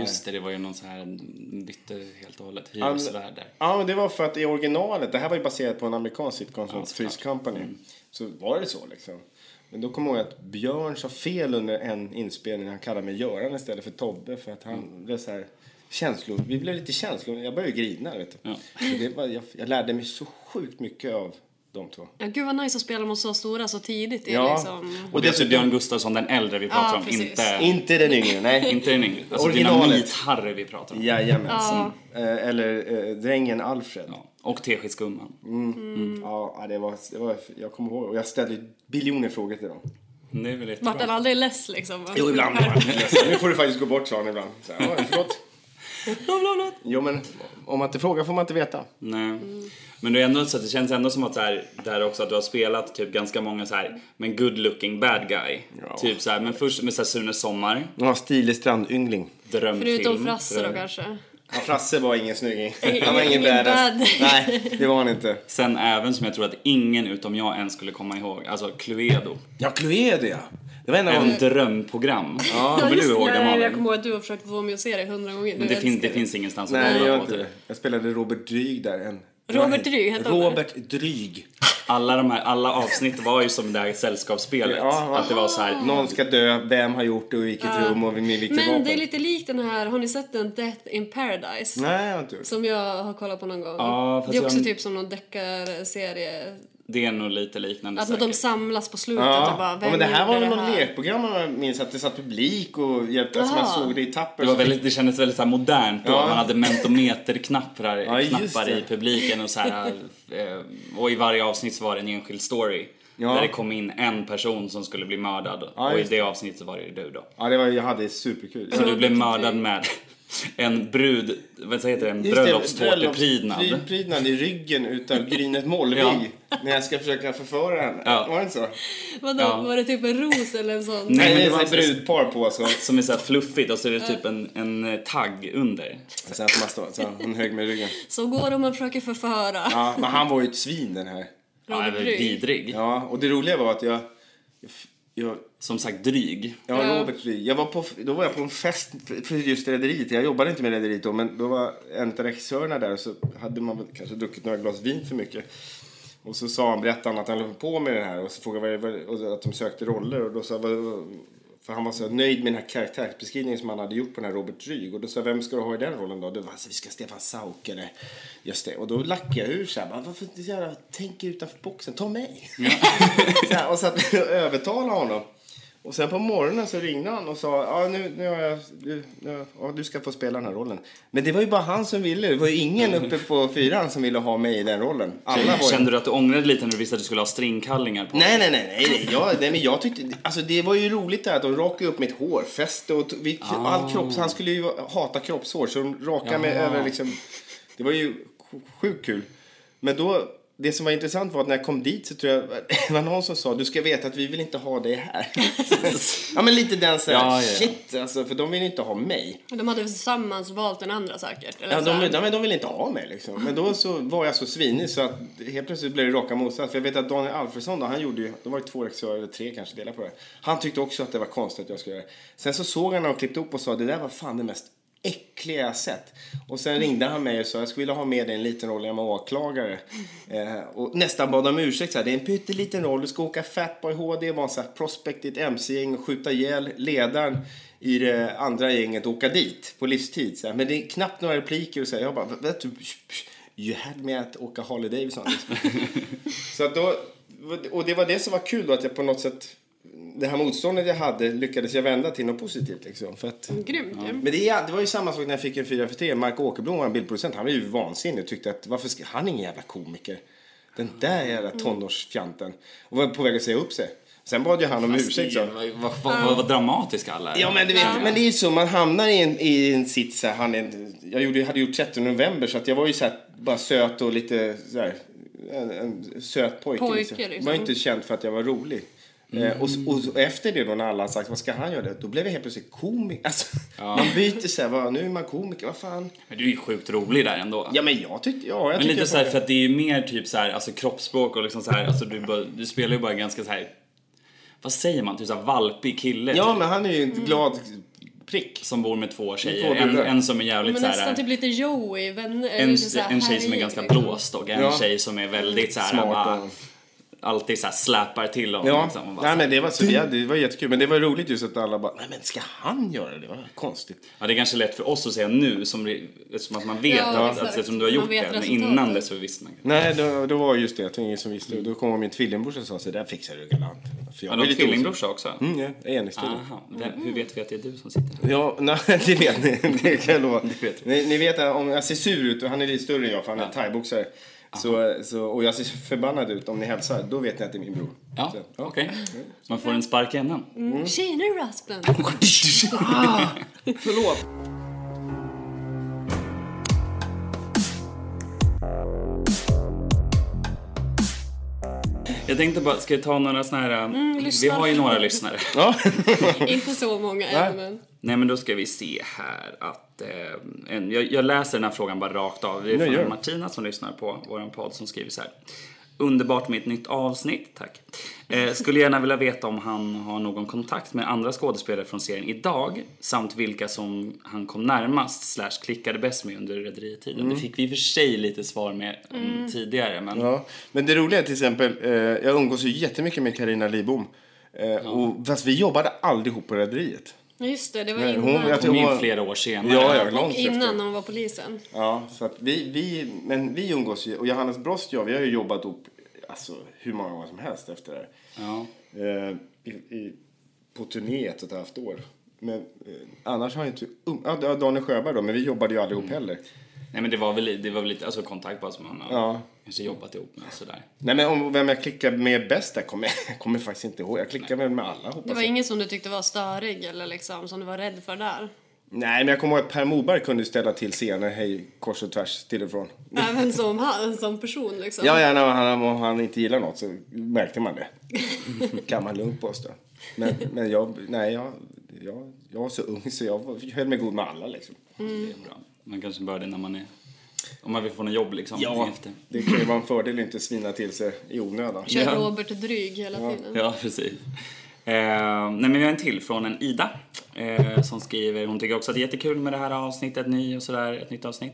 [SPEAKER 1] Just det, det var ju någon så här, bytte helt och hållet
[SPEAKER 2] Ja, men-
[SPEAKER 1] hyresvärd där.
[SPEAKER 2] Ja, men det var för att i originalet, det här var ju baserat på en amerikansk sitcom som
[SPEAKER 1] Ja, såklart. Mm.
[SPEAKER 2] Three's Company. Så var det så liksom. Men då kommer jag ihåg att Björn sa fel under en inspelning. Han kallade mig Göran istället för Tobbe för att han
[SPEAKER 1] Mm.
[SPEAKER 2] blev så här känslor. Vi blev lite känslor. Jag började ju grina vet du.
[SPEAKER 1] Ja.
[SPEAKER 2] Så Det var, jag, jag lärde mig så sjukt mycket av de två.
[SPEAKER 3] Ja, gud vad nice att spela mot så stora så tidigt. Det är
[SPEAKER 2] Ja.
[SPEAKER 3] liksom...
[SPEAKER 1] Och det är alltså Björn Gustafsson, den äldre vi pratar om,
[SPEAKER 3] precis.
[SPEAKER 1] inte,
[SPEAKER 2] Inte den yngre, nej.
[SPEAKER 1] inte den yngre. Alltså
[SPEAKER 2] Originalet.
[SPEAKER 1] Dynamit-Harry vi pratar om.
[SPEAKER 2] Jajamensan. Eh, Eller eh, drängen Alfred. Ja.
[SPEAKER 1] Ja. Och Teskedsgumman.
[SPEAKER 2] Mm.
[SPEAKER 3] Mm.
[SPEAKER 2] Ja, det var, det var, jag kommer ihåg. Och jag ställde ju biljoner frågor till dem.
[SPEAKER 1] Det är väl jättebra.
[SPEAKER 3] Vart han aldrig less liksom?
[SPEAKER 2] Jo, ibland blir man lite ledsen. alltså, Nu får du faktiskt gå bort, sa han ibland. Så här, "Oj, förlåt. Jo, men om man inte frågar får man inte veta.
[SPEAKER 1] Nej.
[SPEAKER 3] Mm.
[SPEAKER 1] Men det, är ändå, så att det känns ändå som att så här, där också att du har spelat typ ganska många så här, men good looking bad guy.
[SPEAKER 2] Ja.
[SPEAKER 1] Typ så här, men först med så här, Sune Sommar,
[SPEAKER 2] Ja, stilig strandyngling.
[SPEAKER 1] drömfilm.
[SPEAKER 3] Förutom Frasse då
[SPEAKER 1] dröm.
[SPEAKER 3] kanske.
[SPEAKER 2] Ja, Frasse var ingen snygging. Han var ingen
[SPEAKER 3] ingen
[SPEAKER 2] badass.
[SPEAKER 3] bad.
[SPEAKER 2] Nej, det var han inte.
[SPEAKER 1] Sen även som jag tror att ingen utom jag ens skulle komma ihåg, alltså Cluedo.
[SPEAKER 2] Ja, Cluedo ja. Det var en av
[SPEAKER 1] En
[SPEAKER 2] de...
[SPEAKER 1] drömprogram. Kommer
[SPEAKER 3] just
[SPEAKER 1] du ihåg
[SPEAKER 3] det,
[SPEAKER 1] det
[SPEAKER 3] jag
[SPEAKER 1] Malin?
[SPEAKER 3] kommer ihåg att du har försökt få mig att se det hundra gånger.
[SPEAKER 1] Men
[SPEAKER 3] Du
[SPEAKER 1] det, fin-
[SPEAKER 3] älskar
[SPEAKER 1] det finns ingenstans att
[SPEAKER 2] Nej, jag
[SPEAKER 1] kolla
[SPEAKER 2] gör
[SPEAKER 1] på,
[SPEAKER 2] inte
[SPEAKER 1] typ.
[SPEAKER 2] det. Jag spelade Robert Dryg där. En...
[SPEAKER 3] Robert Dryg hette han det?
[SPEAKER 2] Robert Dryg.
[SPEAKER 1] Alla, de här, alla avsnitt var ju som det här sällskapsspelet.
[SPEAKER 2] Ja,
[SPEAKER 1] att det var så här.
[SPEAKER 2] Någon ska dö, vem har gjort det och i vilket rum och med vilket
[SPEAKER 3] Men
[SPEAKER 2] vapen.
[SPEAKER 3] det är lite likt den här, har ni sett den? Death in Paradise?
[SPEAKER 2] Nej, jag har inte gjort det.
[SPEAKER 3] Som jag har kollat på någon gång.
[SPEAKER 1] Ja, fast
[SPEAKER 3] det är också
[SPEAKER 1] jag-
[SPEAKER 3] typ som någon deckarserie.
[SPEAKER 1] Det är nog lite liknande
[SPEAKER 3] Att Alltså, de
[SPEAKER 1] säkert.
[SPEAKER 3] samlas på slutet
[SPEAKER 2] Ja.
[SPEAKER 3] och bara
[SPEAKER 2] ja, men det här var
[SPEAKER 3] gjorde
[SPEAKER 2] väl något
[SPEAKER 3] här?"
[SPEAKER 2] lekprogram om jag minns att det satt publik och hjälpte. Alltså
[SPEAKER 3] Jaha.
[SPEAKER 2] man såg det i tapper.
[SPEAKER 1] Det, var väldigt, det kändes väldigt så här modernt då.
[SPEAKER 2] Ja.
[SPEAKER 1] Man hade mentometerknappar
[SPEAKER 2] Ja, just
[SPEAKER 1] knappar
[SPEAKER 2] det.
[SPEAKER 1] i publiken och så här, eh, Och i varje avsnitt så var det en enskild story.
[SPEAKER 2] Ja.
[SPEAKER 1] Där det kom in en person som skulle bli mördad.
[SPEAKER 2] Ja,
[SPEAKER 1] och i
[SPEAKER 2] just
[SPEAKER 1] det avsnittet var det ju du då.
[SPEAKER 2] Ja, det var, jag hade superkul.
[SPEAKER 1] Så du blev mördad med en brud, vad heter det, en
[SPEAKER 2] Just det,
[SPEAKER 1] bröllopstårteprydnad.
[SPEAKER 2] bröllopsprydnad i ryggen utav Grynet Molvig. När jag ska försöka förföra henne.
[SPEAKER 1] Ja.
[SPEAKER 2] Var det inte så?
[SPEAKER 3] Vadå,
[SPEAKER 1] Ja.
[SPEAKER 3] var det typ en ros eller en sån?
[SPEAKER 1] Nej,
[SPEAKER 2] Nej,
[SPEAKER 1] men
[SPEAKER 2] det
[SPEAKER 1] det
[SPEAKER 2] var
[SPEAKER 1] var
[SPEAKER 2] ett brudpar på så.
[SPEAKER 1] Som är så här fluffigt och så är det typ en, en eh, tagg under.
[SPEAKER 2] Så att man står, så hon högg med ryggen.
[SPEAKER 3] Så går det om man försöker förföra.
[SPEAKER 2] Ja, men han var ju ett svin den här.
[SPEAKER 1] Ja,
[SPEAKER 3] Robert
[SPEAKER 1] det är
[SPEAKER 3] Rygg.
[SPEAKER 1] vidrig.
[SPEAKER 2] Ja, och det roliga var att jag... jag
[SPEAKER 1] Som sagt dryg.
[SPEAKER 2] Ja,
[SPEAKER 3] Ja.
[SPEAKER 2] Robert Ryd. Jag var på, då var jag på en fest för just Rederiet. Jag jobbade inte med Rederiet då, men då var en av regissörerna där och så hade man väl kanske druckit några glas vin för mycket. Och så sa han, berättade han att han höll på med den här och så frågade jag vad det var- och att de sökte roller och då sa vad- för han var så nöjd med den här karaktärsbeskrivningen som han hade gjort på den här Robert Ryd. Och då sa jag, vem ska du ha i den rollen då? Det var alltså, vi ska ha Stefan Sauk eller just det. Och då lackade jag ur så här, bara, varför inte så jävla, tänk utanför boxen, ta mig. så här, och så att övertala honom. Och Och sen på morgonen så ringde han och sa ja, nu, nu har jag, du, nu, ja, du ska få spela den här rollen. Men det var ju bara han som ville. Det var ju ingen uppe på fyran som ville ha mig i den rollen. Alla var ju...
[SPEAKER 1] Mm. Kände du att du ångrade lite när du visste att du skulle ha stringkallingar på
[SPEAKER 2] Nej, nej, nej, nej, nej. Jag, nej men jag tyckte, alltså det var ju roligt där att de rakade upp mitt hårfäste och tog- vi,
[SPEAKER 1] Ah.
[SPEAKER 2] all kropps, han skulle ju hata kroppshår så de rakade mig
[SPEAKER 1] Ja.
[SPEAKER 2] över liksom. Det var ju sj- sjukt kul. Men då, det som var intressant var att när jag kom dit så tror jag det var någon som sa du ska veta att vi vill inte ha dig här. ja men lite den såhär,
[SPEAKER 1] Ja, ja, ja.
[SPEAKER 2] shit alltså för de vill inte ha mig.
[SPEAKER 3] Men De hade tillsammans valt den andra säkert. Eller
[SPEAKER 2] Ja,
[SPEAKER 3] så
[SPEAKER 2] de,
[SPEAKER 3] här.
[SPEAKER 2] de, men de ville inte ha mig liksom. Men då så var jag så svinig så att helt plötsligt blev det raka motsatsen. För jag vet att Daniel Alfredsson då, han gjorde ju, de var ju två regissörer eller tre kanske delar på det. Han tyckte också att det var konstigt att jag skulle göra det. Sen så såg han när de klippte upp och sa det där var fan det mest äckliga jag har sett. Och sen ringde han mig och sa jag skulle vilja ha med dig i en liten roll, jag var åklagare. Eh, och nästan bad om ursäkt så här, det är en pytteliten roll, du ska åka Fatboy HD, vara en sån här prospect i ett mc-gäng och skjuta ihjäl ledaren i det andra gänget och åka dit på livstid. Så här. Men det är knappt några repliker och så här. jag bara, vet du, you had me att åka Harley Davidson. så att då, och det var det som var kul då att jag på något sätt, det här motståndet jag hade lyckades jag vända till något positivt liksom. För att,
[SPEAKER 3] Grymt ju.
[SPEAKER 2] men det, är- det var ju samma sak när jag fick en 4 för 3. Mark Åkerblom, vår bilproducent, han var ju vansinnig och tyckte att varför ska, han är ingen jävla komiker. Den där jävla tonårsfjanten. Och var på väg att säga upp sig. Sen bad ju han om
[SPEAKER 1] Alltså,
[SPEAKER 2] ursäkt. Så.
[SPEAKER 1] Vad, vad, vad, vad dramatiska alla är.
[SPEAKER 2] Ja men, du vet, men det är ju så, man hamnar i en, i en sits så här, han är, en- Jag gjorde, hade gjort 13 november så att jag var ju så här, bara söt och lite så här, en, en söt pojke.
[SPEAKER 3] Pojke,
[SPEAKER 2] Jag
[SPEAKER 3] liksom.
[SPEAKER 2] var inte känd för att jag var rolig.
[SPEAKER 1] Mm.
[SPEAKER 2] Eh, och, och, och efter det då när alla har sagt vad ska han göra? Då blev jag helt plötsligt komiker. Alltså, Man byter så här, vad, nu är man komiker, vad fan.
[SPEAKER 1] Men du är ju sjukt rolig där ändå.
[SPEAKER 2] Ja men jag tyckte, ja jag
[SPEAKER 1] Men
[SPEAKER 2] tyckte
[SPEAKER 1] lite
[SPEAKER 2] jag
[SPEAKER 1] så här,
[SPEAKER 2] funkar.
[SPEAKER 1] för att det är ju mer typ så här, alltså kroppsspråk och liksom så här, alltså du, bara- du spelar ju bara ganska så här. vad säger man, typ så här valpig kille
[SPEAKER 2] Ja
[SPEAKER 1] typ,
[SPEAKER 2] men han är ju en
[SPEAKER 3] Mm.
[SPEAKER 2] glad prick.
[SPEAKER 1] som bor med två tjejer.
[SPEAKER 2] Två brudar.
[SPEAKER 1] en, en som är jävligt
[SPEAKER 3] Men
[SPEAKER 1] så
[SPEAKER 3] nästan
[SPEAKER 1] här, eh,
[SPEAKER 3] typ lite Joey, vänner.
[SPEAKER 1] en,
[SPEAKER 3] lite så här
[SPEAKER 1] en tjej som är
[SPEAKER 3] härlig,
[SPEAKER 1] ganska
[SPEAKER 3] liksom.
[SPEAKER 1] blåst och en
[SPEAKER 2] Ja.
[SPEAKER 1] tjej som är väldigt så här,
[SPEAKER 2] Smart
[SPEAKER 1] bara,
[SPEAKER 2] och-
[SPEAKER 1] alltid så här släpar till honom.
[SPEAKER 2] Ja,
[SPEAKER 1] liksom, och bara,
[SPEAKER 2] nej,
[SPEAKER 1] så här.
[SPEAKER 2] men det, var så, ja, det var jättekul. Men det var roligt just att alla bara, nej men ska han göra det? Det var konstigt.
[SPEAKER 1] ja, det är kanske lätt för oss att säga nu som, vi- eftersom att man vet
[SPEAKER 3] Ja,
[SPEAKER 1] att,
[SPEAKER 3] exakt.
[SPEAKER 1] att, eftersom du har
[SPEAKER 3] Man
[SPEAKER 1] gjort
[SPEAKER 3] vet
[SPEAKER 1] det. Men
[SPEAKER 3] resultatet.
[SPEAKER 1] innan det så visste man inte.
[SPEAKER 2] Nej, då, då var just det. Jag tänkte ingen som visste. Då kom min tvillingbrorsa och sa så där fixar du galant. För jag
[SPEAKER 1] Ja, Ah.
[SPEAKER 2] var
[SPEAKER 1] du har
[SPEAKER 2] lite
[SPEAKER 1] tvillingbrorsa också?
[SPEAKER 2] osäker. Mm, ja, en i studion.
[SPEAKER 1] Aha. Vem, hur vet vi att det är du som sitter där?
[SPEAKER 2] Ja, nej, det vet ni. Det kan jag lova.
[SPEAKER 1] vet
[SPEAKER 2] Ni, ni vet att om jag ser sur ut, och han är lite större än jag för han är thaiboxare. Så, så, och jag ser förbannad ut om ni hälsar, då vet ni att det är min bror.
[SPEAKER 1] Ja,
[SPEAKER 2] Så, ja.
[SPEAKER 1] okej. Man får en spark i änden.
[SPEAKER 3] Tjena Raspen!
[SPEAKER 2] Förlåt.
[SPEAKER 1] Jag tänkte bara, ska jag ta några såna här... vi
[SPEAKER 3] lyssna.
[SPEAKER 1] har ju några lyssnare.
[SPEAKER 2] Ja.
[SPEAKER 3] Inte så många än men.
[SPEAKER 1] Nej men då ska vi se här att... Eh, en, jag, jag läser den här frågan bara rakt av. Det är
[SPEAKER 2] gör
[SPEAKER 1] från
[SPEAKER 2] det.
[SPEAKER 1] Martina som lyssnar på våran podd som skriver så här. Underbart med ett nytt avsnitt, tack. Eh, skulle gärna vilja veta om han har någon kontakt med andra skådespelare från serien idag samt vilka som han kom närmast slash klickade bäst med under rederitiden. Det fick vi i och för sig lite svar med om tidigare men...
[SPEAKER 2] Mm. Ja, men det roliga är till exempel, eh, jag umgås ju jättemycket med Karina Lidbom. Eh, och, fast vi jobbade aldrig ihop på Rederiet.
[SPEAKER 3] Ja, Just det, det var
[SPEAKER 2] Nej,
[SPEAKER 3] innan.
[SPEAKER 2] hon- jag
[SPEAKER 1] Hon är
[SPEAKER 2] var-
[SPEAKER 1] ju flera år senare.
[SPEAKER 2] Ja, ja, långt
[SPEAKER 3] och innan
[SPEAKER 2] efter.
[SPEAKER 3] när hon var polisen.
[SPEAKER 2] Ja, så att vi, vi, men vi umgås ju, och Johannes Brost och jag, vi har ju jobbat ihop alltså, hur många gånger som helst efter det här.
[SPEAKER 1] Ja.
[SPEAKER 2] Eh, i, i, på turné ett och ett halvt år. Men eh, annars har jag inte... Um, ja, det var Daniel Sjöberg då, men vi jobbade ju aldrig ihop heller.
[SPEAKER 1] Nej men det var väl, det var väl lite alltså, kontakt bara som man har
[SPEAKER 2] Ja.
[SPEAKER 1] kanske jobbat ihop med sådär.
[SPEAKER 2] Nej, men om vem jag klickar med bäst där kommer jag kommer jag faktiskt inte ihåg. Jag klickar väl med alla hoppas
[SPEAKER 3] Det var
[SPEAKER 2] jag.
[SPEAKER 3] ingen som du tyckte var störig eller liksom som du var rädd för där?
[SPEAKER 2] Nej, men jag kommer ihåg att Per Moberg kunde ställa till scener hej kors och tvärs till och från.
[SPEAKER 3] Även som, han, som person liksom?
[SPEAKER 2] Ja, ja, när han, om han inte gillar något så märkte man det. kan man lugnt påstå. Men, men jag, nej, jag, jag, jag var så ung så jag var- höll mig god med alla liksom.
[SPEAKER 1] Det är bra. Man kanske börjar det när man är, om man vill få något jobb liksom. efter.
[SPEAKER 2] Det kan ju vara en fördel att inte svina till sig i onödan.
[SPEAKER 3] Kör
[SPEAKER 1] Ja.
[SPEAKER 3] Robert dryg hela tiden?
[SPEAKER 1] Ja, precis. Eh, nej men vi har en till från en Ida eh, som skriver, hon tycker också att det är jättekul med det här avsnittet, ny och sådär, ett nytt avsnitt.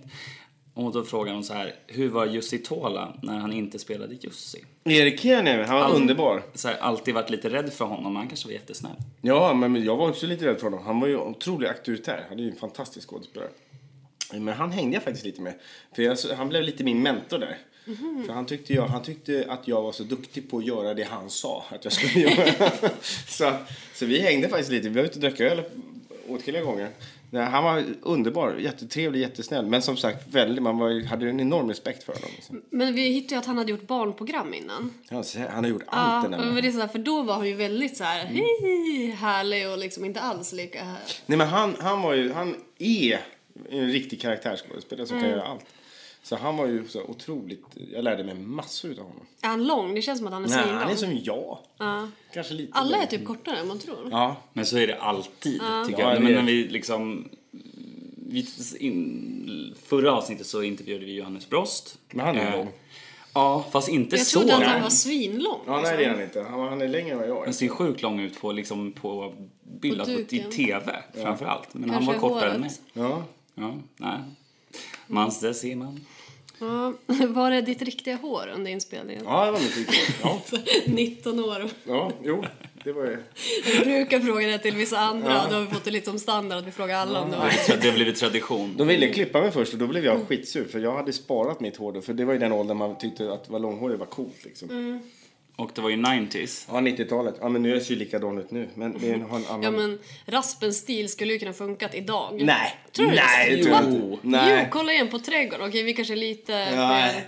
[SPEAKER 1] Och då frågar hon så här, hur var Jussi Tola när han inte spelade Jussi?
[SPEAKER 2] Erik Kienen, han var underbar.
[SPEAKER 1] Så här, alltid varit lite rädd för honom, men han kanske var jättesnäll.
[SPEAKER 2] Ja, men jag var också lite rädd för honom. Han var ju otroligt auktoritär. Han är ju en fantastisk skådespelare. Men han hängde jag faktiskt lite med. För jag, han blev lite min mentor där.
[SPEAKER 3] Mhm.
[SPEAKER 2] För han tyckte, jag, han tyckte att jag var så duktig på att göra det han sa att jag skulle göra. så, så vi hängde faktiskt lite. Vi var ute och drack öl åtskilliga gånger. Nej, han var underbar, jättetrevlig, jättesnäll. Men som sagt, väldigt, man var, ju- hade en enorm respekt för honom. Liksom.
[SPEAKER 3] Men vi hittade ju att han hade gjort barnprogram innan.
[SPEAKER 2] Han, han har gjort
[SPEAKER 3] Ja,
[SPEAKER 2] allt den Mm. där
[SPEAKER 3] men det är sådär, för då var han ju väldigt så här, hej, härlig och liksom inte alls lika här.
[SPEAKER 2] Nej men han, han var ju, han är en riktig karaktärsskådespelare som
[SPEAKER 3] Mm.
[SPEAKER 2] kan göra allt. Så han var ju så otroligt, jag lärde mig massor utav honom.
[SPEAKER 3] Är han lång? Det känns som att han är
[SPEAKER 2] Nej, han är
[SPEAKER 3] svinlång.
[SPEAKER 2] som jag. Kanske lite
[SPEAKER 3] Alla är
[SPEAKER 2] längre.
[SPEAKER 3] typ kortare än man tror.
[SPEAKER 2] Ja,
[SPEAKER 1] Men så är det alltid, tycker
[SPEAKER 2] Ja,
[SPEAKER 1] jag.
[SPEAKER 2] det
[SPEAKER 1] Men
[SPEAKER 2] är-
[SPEAKER 1] när vi liksom... Vi, in, förra avsnittet så intervjuade vi Johannes Brost. Eh,
[SPEAKER 2] Men han är lång.
[SPEAKER 1] Ja, fast inte
[SPEAKER 3] Jag
[SPEAKER 1] så
[SPEAKER 3] trodde att
[SPEAKER 1] lång.
[SPEAKER 3] han var svinlång.
[SPEAKER 2] ja nej
[SPEAKER 3] liksom.
[SPEAKER 2] det är han inte. Han, var- han är längre än vad jag är.
[SPEAKER 1] Han ser sjukt lång ut på, liksom, på bilder
[SPEAKER 3] På
[SPEAKER 1] på, i
[SPEAKER 3] duken.
[SPEAKER 1] TV framför allt. Men
[SPEAKER 3] Kanske
[SPEAKER 1] han var kortare
[SPEAKER 3] håret.
[SPEAKER 1] än mig.
[SPEAKER 2] Ja.
[SPEAKER 1] Ja, nej. Man, där ser man.
[SPEAKER 3] Ja, var det ditt riktiga hår under inspelningen?
[SPEAKER 2] ja, det var mitt riktigt. Ja,
[SPEAKER 3] 19 år.
[SPEAKER 2] ja, jo. Det var ju...
[SPEAKER 3] Vi brukar fråga det till vissa andra. Då har vi fått det lite som standard att vi frågar alla om det var.
[SPEAKER 1] Så att det har blivit tradition.
[SPEAKER 2] De ville klippa mig först och då blev jag
[SPEAKER 3] Mm.
[SPEAKER 2] skitsur för jag hade sparat mitt hår då. För det var ju den åldern man tyckte att var långhårig var coolt liksom.
[SPEAKER 3] Mm.
[SPEAKER 1] Och det var ju 90s.
[SPEAKER 2] Ja, 90-talet. Ja, men nu ser ju likadan ut nu. Men det har en annan...
[SPEAKER 3] Ja men raspens stil skulle ju kunna funkat idag.
[SPEAKER 2] Nej!
[SPEAKER 3] Tror du
[SPEAKER 2] Nej,
[SPEAKER 3] det?
[SPEAKER 2] det tror jag
[SPEAKER 1] Jo.
[SPEAKER 2] inte.
[SPEAKER 3] Jo,
[SPEAKER 2] Nej.
[SPEAKER 3] kolla igen på trädgården. Okej, vi kanske är lite...
[SPEAKER 2] Nej.
[SPEAKER 3] mer-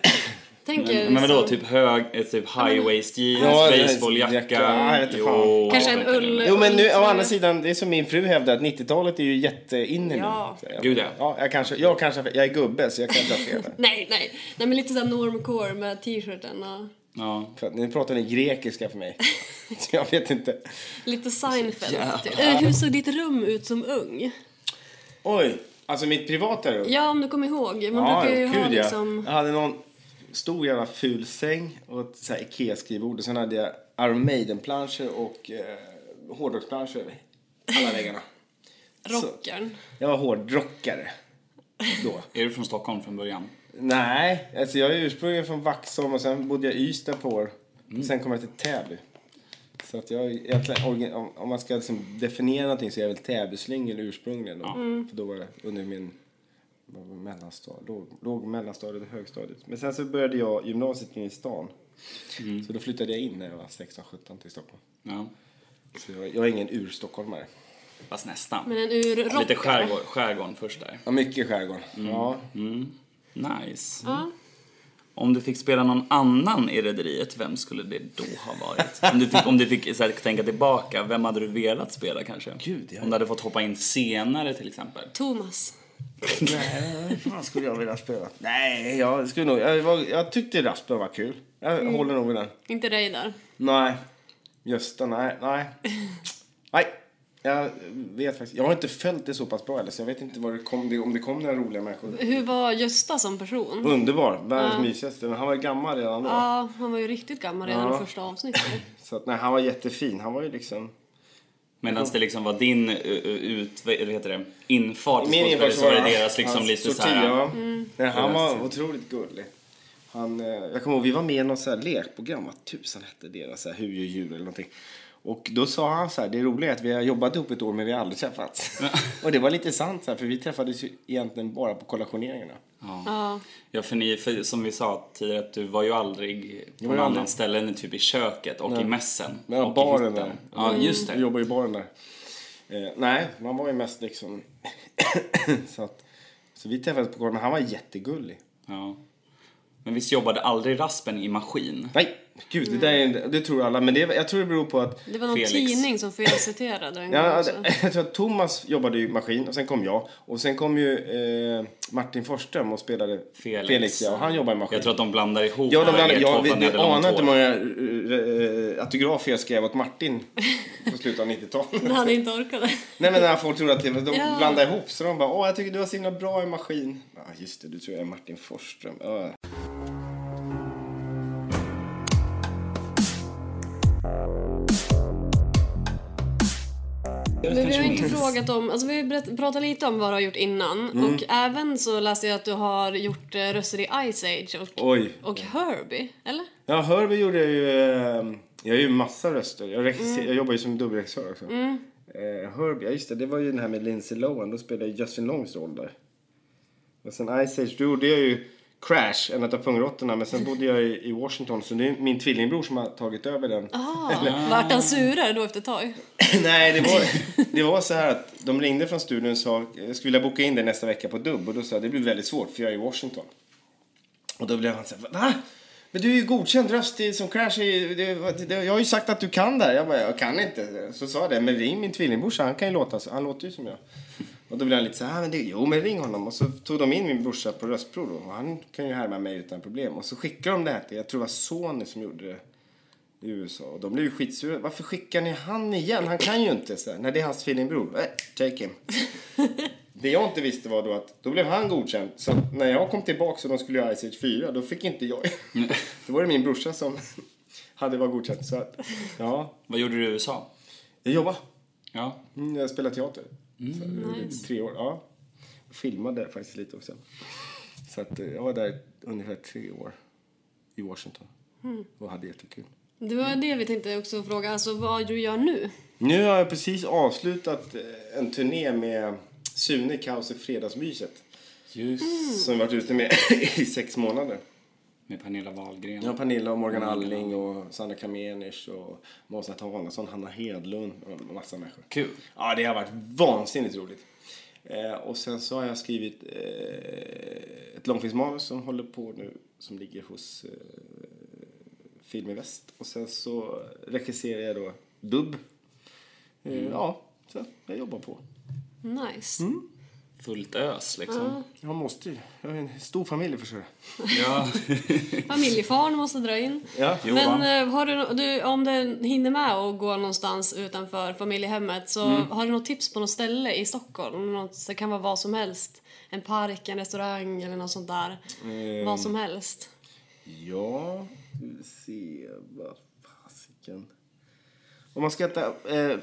[SPEAKER 3] Tänk er
[SPEAKER 1] Men vadå,
[SPEAKER 3] liksom-
[SPEAKER 1] typ hög, eh, typ high waist jeans,
[SPEAKER 2] Ja, det-
[SPEAKER 1] baseballjacka.
[SPEAKER 2] jacka, jag vet inte fan.
[SPEAKER 3] Kanske en ull...
[SPEAKER 2] Jo, men nu, å
[SPEAKER 3] ulltröja.
[SPEAKER 2] andra sidan, det är som min fru hävdar att 90-talet är ju jätteinne
[SPEAKER 3] Ja.
[SPEAKER 2] nu. Så jag-
[SPEAKER 1] Gud, ja.
[SPEAKER 2] ja jag, kanske, jag kanske Jag är gubbe, så jag kanske har fel där.
[SPEAKER 3] Nej, nej. Nej, men lite såhär normcore med t-shirten och
[SPEAKER 1] Ja.
[SPEAKER 2] För att Nu pratar ni grekiska för mig. Så Jag vet inte.
[SPEAKER 3] lite Seinfeld.
[SPEAKER 1] Jävlar.
[SPEAKER 3] typ. Eh, Hur såg ditt rum ut som ung?
[SPEAKER 2] Oj! Alltså mitt privata rum.
[SPEAKER 3] Ja, om du kommer ihåg. Man brukar ju
[SPEAKER 2] gud,
[SPEAKER 3] ha
[SPEAKER 2] ja.
[SPEAKER 3] liksom...
[SPEAKER 2] Jag hade någon stor jävla ful säng och ett så här Ikea-skrivbord. Och sen hade jag Iron Maiden-planscher och eh, hårdrocksplanscher över alla väggarna.
[SPEAKER 3] Rockern.
[SPEAKER 2] Jag var hårdrockare då.
[SPEAKER 1] Är du från Stockholm från början?
[SPEAKER 2] Nej, alltså jag är ursprungligen från Vaxholm och sen bodde jag i Ystad på år. Och sen kom jag till Täby. Så att jag är egentligen, orgi- om- om man ska liksom definiera någonting så är jag väl Täbyslingel ursprungligen då. För då var jag under min vad var det, mellanstad, låg, låg mellanstadiet och högstadiet. Men sen så började jag gymnasiet inne i stan. Så då flyttade jag in när jag var 16-17 till Stockholm.
[SPEAKER 1] Ja.
[SPEAKER 2] Så jag, jag är ingen urstockholmare.
[SPEAKER 1] Fast nästan.
[SPEAKER 3] Men en urrockare.
[SPEAKER 1] Lite skärgård, skärgården först där.
[SPEAKER 2] Ja, mycket skärgård. Ja.
[SPEAKER 1] Nice.
[SPEAKER 3] Ja.
[SPEAKER 1] Om du fick spela någon annan i Rederiet, vem skulle det då ha varit? Om du fick, om du fick så här, tänka tillbaka, vem hade du velat spela kanske?
[SPEAKER 2] Gud, jag-
[SPEAKER 1] Om du hade fått hoppa in senare till exempel.
[SPEAKER 3] Thomas.
[SPEAKER 2] Nej, fan skulle jag vilja spela? Nej, jag skulle nog... Jag, var, jag tyckte Raspen var kul. Jag håller nog med den.
[SPEAKER 3] Inte Reidar.
[SPEAKER 2] Nej. Gösta, nej. Nej. nej. Jag vet faktiskt. Jag har inte följt det så pass bra heller, så jag vet inte vad det kom, det- om det kom några roliga människor.
[SPEAKER 3] Hur var Gösta som person?
[SPEAKER 2] Underbar. Världens mysigaste. Men han var gammal redan då.
[SPEAKER 3] Ja, han var ju riktigt gammal redan
[SPEAKER 2] Ja.
[SPEAKER 3] i första avsnittet.
[SPEAKER 2] Så att, nej, han var jättefin. Han var ju liksom...
[SPEAKER 1] Medan det liksom var din eh, eh, ut, vad heter det, infart till
[SPEAKER 2] Min
[SPEAKER 1] skådespelare
[SPEAKER 2] infart
[SPEAKER 1] så var det
[SPEAKER 2] hans-
[SPEAKER 1] deras liksom
[SPEAKER 2] hans
[SPEAKER 1] lite Mm.
[SPEAKER 2] tortilla,
[SPEAKER 1] såhär...
[SPEAKER 2] va? Nej, han var otroligt gullig. Han, eh, jag kommer ihåg, vi var med i något så här lekprogram, vad tusan hette deras, så här, hur gör djur eller någonting. Och då sa han så här, det roliga är att vi har jobbat ihop ett år men vi har aldrig träffats. och det var lite sant så här, för vi träffades ju egentligen bara på kollationeringarna.
[SPEAKER 3] Ja.
[SPEAKER 1] Ja, för, ni, för som vi sa tidigare, att du var ju aldrig på
[SPEAKER 2] var
[SPEAKER 1] någon
[SPEAKER 2] ju
[SPEAKER 1] annan
[SPEAKER 2] aldrig.
[SPEAKER 1] ställe än typ i köket och i mässen.
[SPEAKER 2] Men
[SPEAKER 1] och i
[SPEAKER 2] baren
[SPEAKER 1] hytten.
[SPEAKER 2] där.
[SPEAKER 1] Ja, just
[SPEAKER 2] Vi
[SPEAKER 1] det.
[SPEAKER 2] jobbar i baren där. Eh, nej, man var ju mest liksom... så, att, så vi träffades på kollationeringen, men han var jättegullig.
[SPEAKER 1] Ja. Men visst jobbade aldrig Raspen i maskin?
[SPEAKER 2] Nej, gud, det där är, en- det tror alla, men det, jag tror det beror på att
[SPEAKER 3] Det var någon
[SPEAKER 1] Felix.
[SPEAKER 3] tidning som felciterade en gång
[SPEAKER 2] Ja,
[SPEAKER 3] också.
[SPEAKER 2] det- jag tror att Thomas jobbade i maskin och sen kom jag. Och sen kom ju eh, Martin Forsström och spelade
[SPEAKER 1] Felix.
[SPEAKER 2] ja, och han jobbar i maskin.
[SPEAKER 1] Jag tror att de blandar ihop
[SPEAKER 2] Ja, de
[SPEAKER 1] er
[SPEAKER 2] blandade,
[SPEAKER 1] två
[SPEAKER 2] jag,
[SPEAKER 1] för
[SPEAKER 2] vi,
[SPEAKER 1] att ni
[SPEAKER 2] vi
[SPEAKER 1] hade långt
[SPEAKER 2] anar inte
[SPEAKER 1] hår.
[SPEAKER 2] hur många eh, eh, autografer jag skrev åt Martin på slutet av 90-talet.
[SPEAKER 3] När han inte orkade.
[SPEAKER 2] Nej men när folk trodde att det var, de
[SPEAKER 3] Ja.
[SPEAKER 2] blandade ihop så de bara åh jag tycker du var så himla bra i maskin. Ja just det, du tror jag är Martin Forsström. Ja.
[SPEAKER 3] Men vi har inte
[SPEAKER 2] Mm.
[SPEAKER 3] frågat om, alltså vi har ju berätt- pratat lite om vad du har gjort innan och även så läste jag att du har gjort eh, röster i Ice Age och,
[SPEAKER 2] Oj.
[SPEAKER 3] och Herbie, eller?
[SPEAKER 2] Ja, Hörby gjorde jag ju... eh, Jag gör ju massa röster. Jag, regisser- jag jobbar ju som dubbelregissör också. Mm. Herbie, ja just det, det var ju den här med Lindsay Lohan. Då spelade jag Justin Longs roll där. Och sen Ice Age, då gjorde jag ju Crash, en av pungråttorna. Men sen bodde jag i, i Washington så det är min tvillingbror som har tagit över den.
[SPEAKER 3] Ah, vart han surare då efter ett tag?
[SPEAKER 2] Nej, det var, det var så här att de ringde från studion och sa jag skulle vilja boka in dig nästa vecka på dubb. Och då sa jag det blir väldigt svårt för jag är i Washington. Och då blev han så här, va? Men du är ju godkänd röst i, som Crash. i- det- det- Jag har ju sagt att du kan där. Jag bara, jag kan inte. Så sa jag det, men ring min tvillingbrorsa, han kan ju låta så. Han låter ju som jag. Och då blev han lite så här, "Ah, men det, jo men ring honom. Och så tog de in min brorsa på röstprov då. Och han kan ju härma mig utan problem. Och så skickade de det här till, jag tror det var Sony som gjorde det i USA. Och de blev ju skitsura. Varför skickar ni han igen? Han kan ju inte. Så här, Nej, det är hans tvillingbror. Nej, take him. Det jag inte visste var då att då blev han godkänd. Så att när jag kom tillbaka och de skulle göra Ice Age 4, då fick inte jag. Då var det min brorsa som hade var godkänd. Så att, ja,
[SPEAKER 1] Vad gjorde du i USA?
[SPEAKER 2] jag jobbade.
[SPEAKER 1] Ja.
[SPEAKER 2] Mm, Jag spelade teater. Så, i Tre år, ja. Jag filmade faktiskt lite också. Så att, eh, jag var där ungefär tre år i Washington och hade jättekul.
[SPEAKER 3] Det var det vi tänkte också fråga, alltså vad du gör nu?
[SPEAKER 2] Nu har jag precis avslutat eh, en turné med Sune Kaos i Fredagsmyset
[SPEAKER 1] Just
[SPEAKER 2] som vi varit ute med i sex månader.
[SPEAKER 1] Med Pernilla Wahlgren.
[SPEAKER 2] Ja, Pernilla och Morgan Alling och Sandra Kamenisch och Måsa Tavanesson, Hanna Hedlund och massa människor.
[SPEAKER 1] Kul.
[SPEAKER 2] Ja, det har varit vansinnigt roligt. Eh, och sen så har jag skrivit eh, ett långfilmsmanus som håller på nu, som ligger hos eh, Film i Väst. Och sen så regisserar jag då Dubb. Eh, Ja, så jag jobbar på.
[SPEAKER 3] Nice.
[SPEAKER 2] Mm.
[SPEAKER 1] Fullt ös liksom.
[SPEAKER 2] Jag måste ju. Jag har en stor familj att försörja.
[SPEAKER 1] Ja.
[SPEAKER 3] Familjefarn måste dra in.
[SPEAKER 2] Ja.
[SPEAKER 1] Jo, va?
[SPEAKER 3] Men eh, har du, no- du, om du hinner med att gå någonstans utanför familjehemmet så
[SPEAKER 1] Mm.
[SPEAKER 3] har du något tips på något ställe i Stockholm? Något, det kan vara vad som helst. En park, en restaurang eller något sånt där.
[SPEAKER 1] Mm.
[SPEAKER 3] Vad som helst.
[SPEAKER 2] Ja, ska vi se. Vad fasiken. Om man ska äta eh,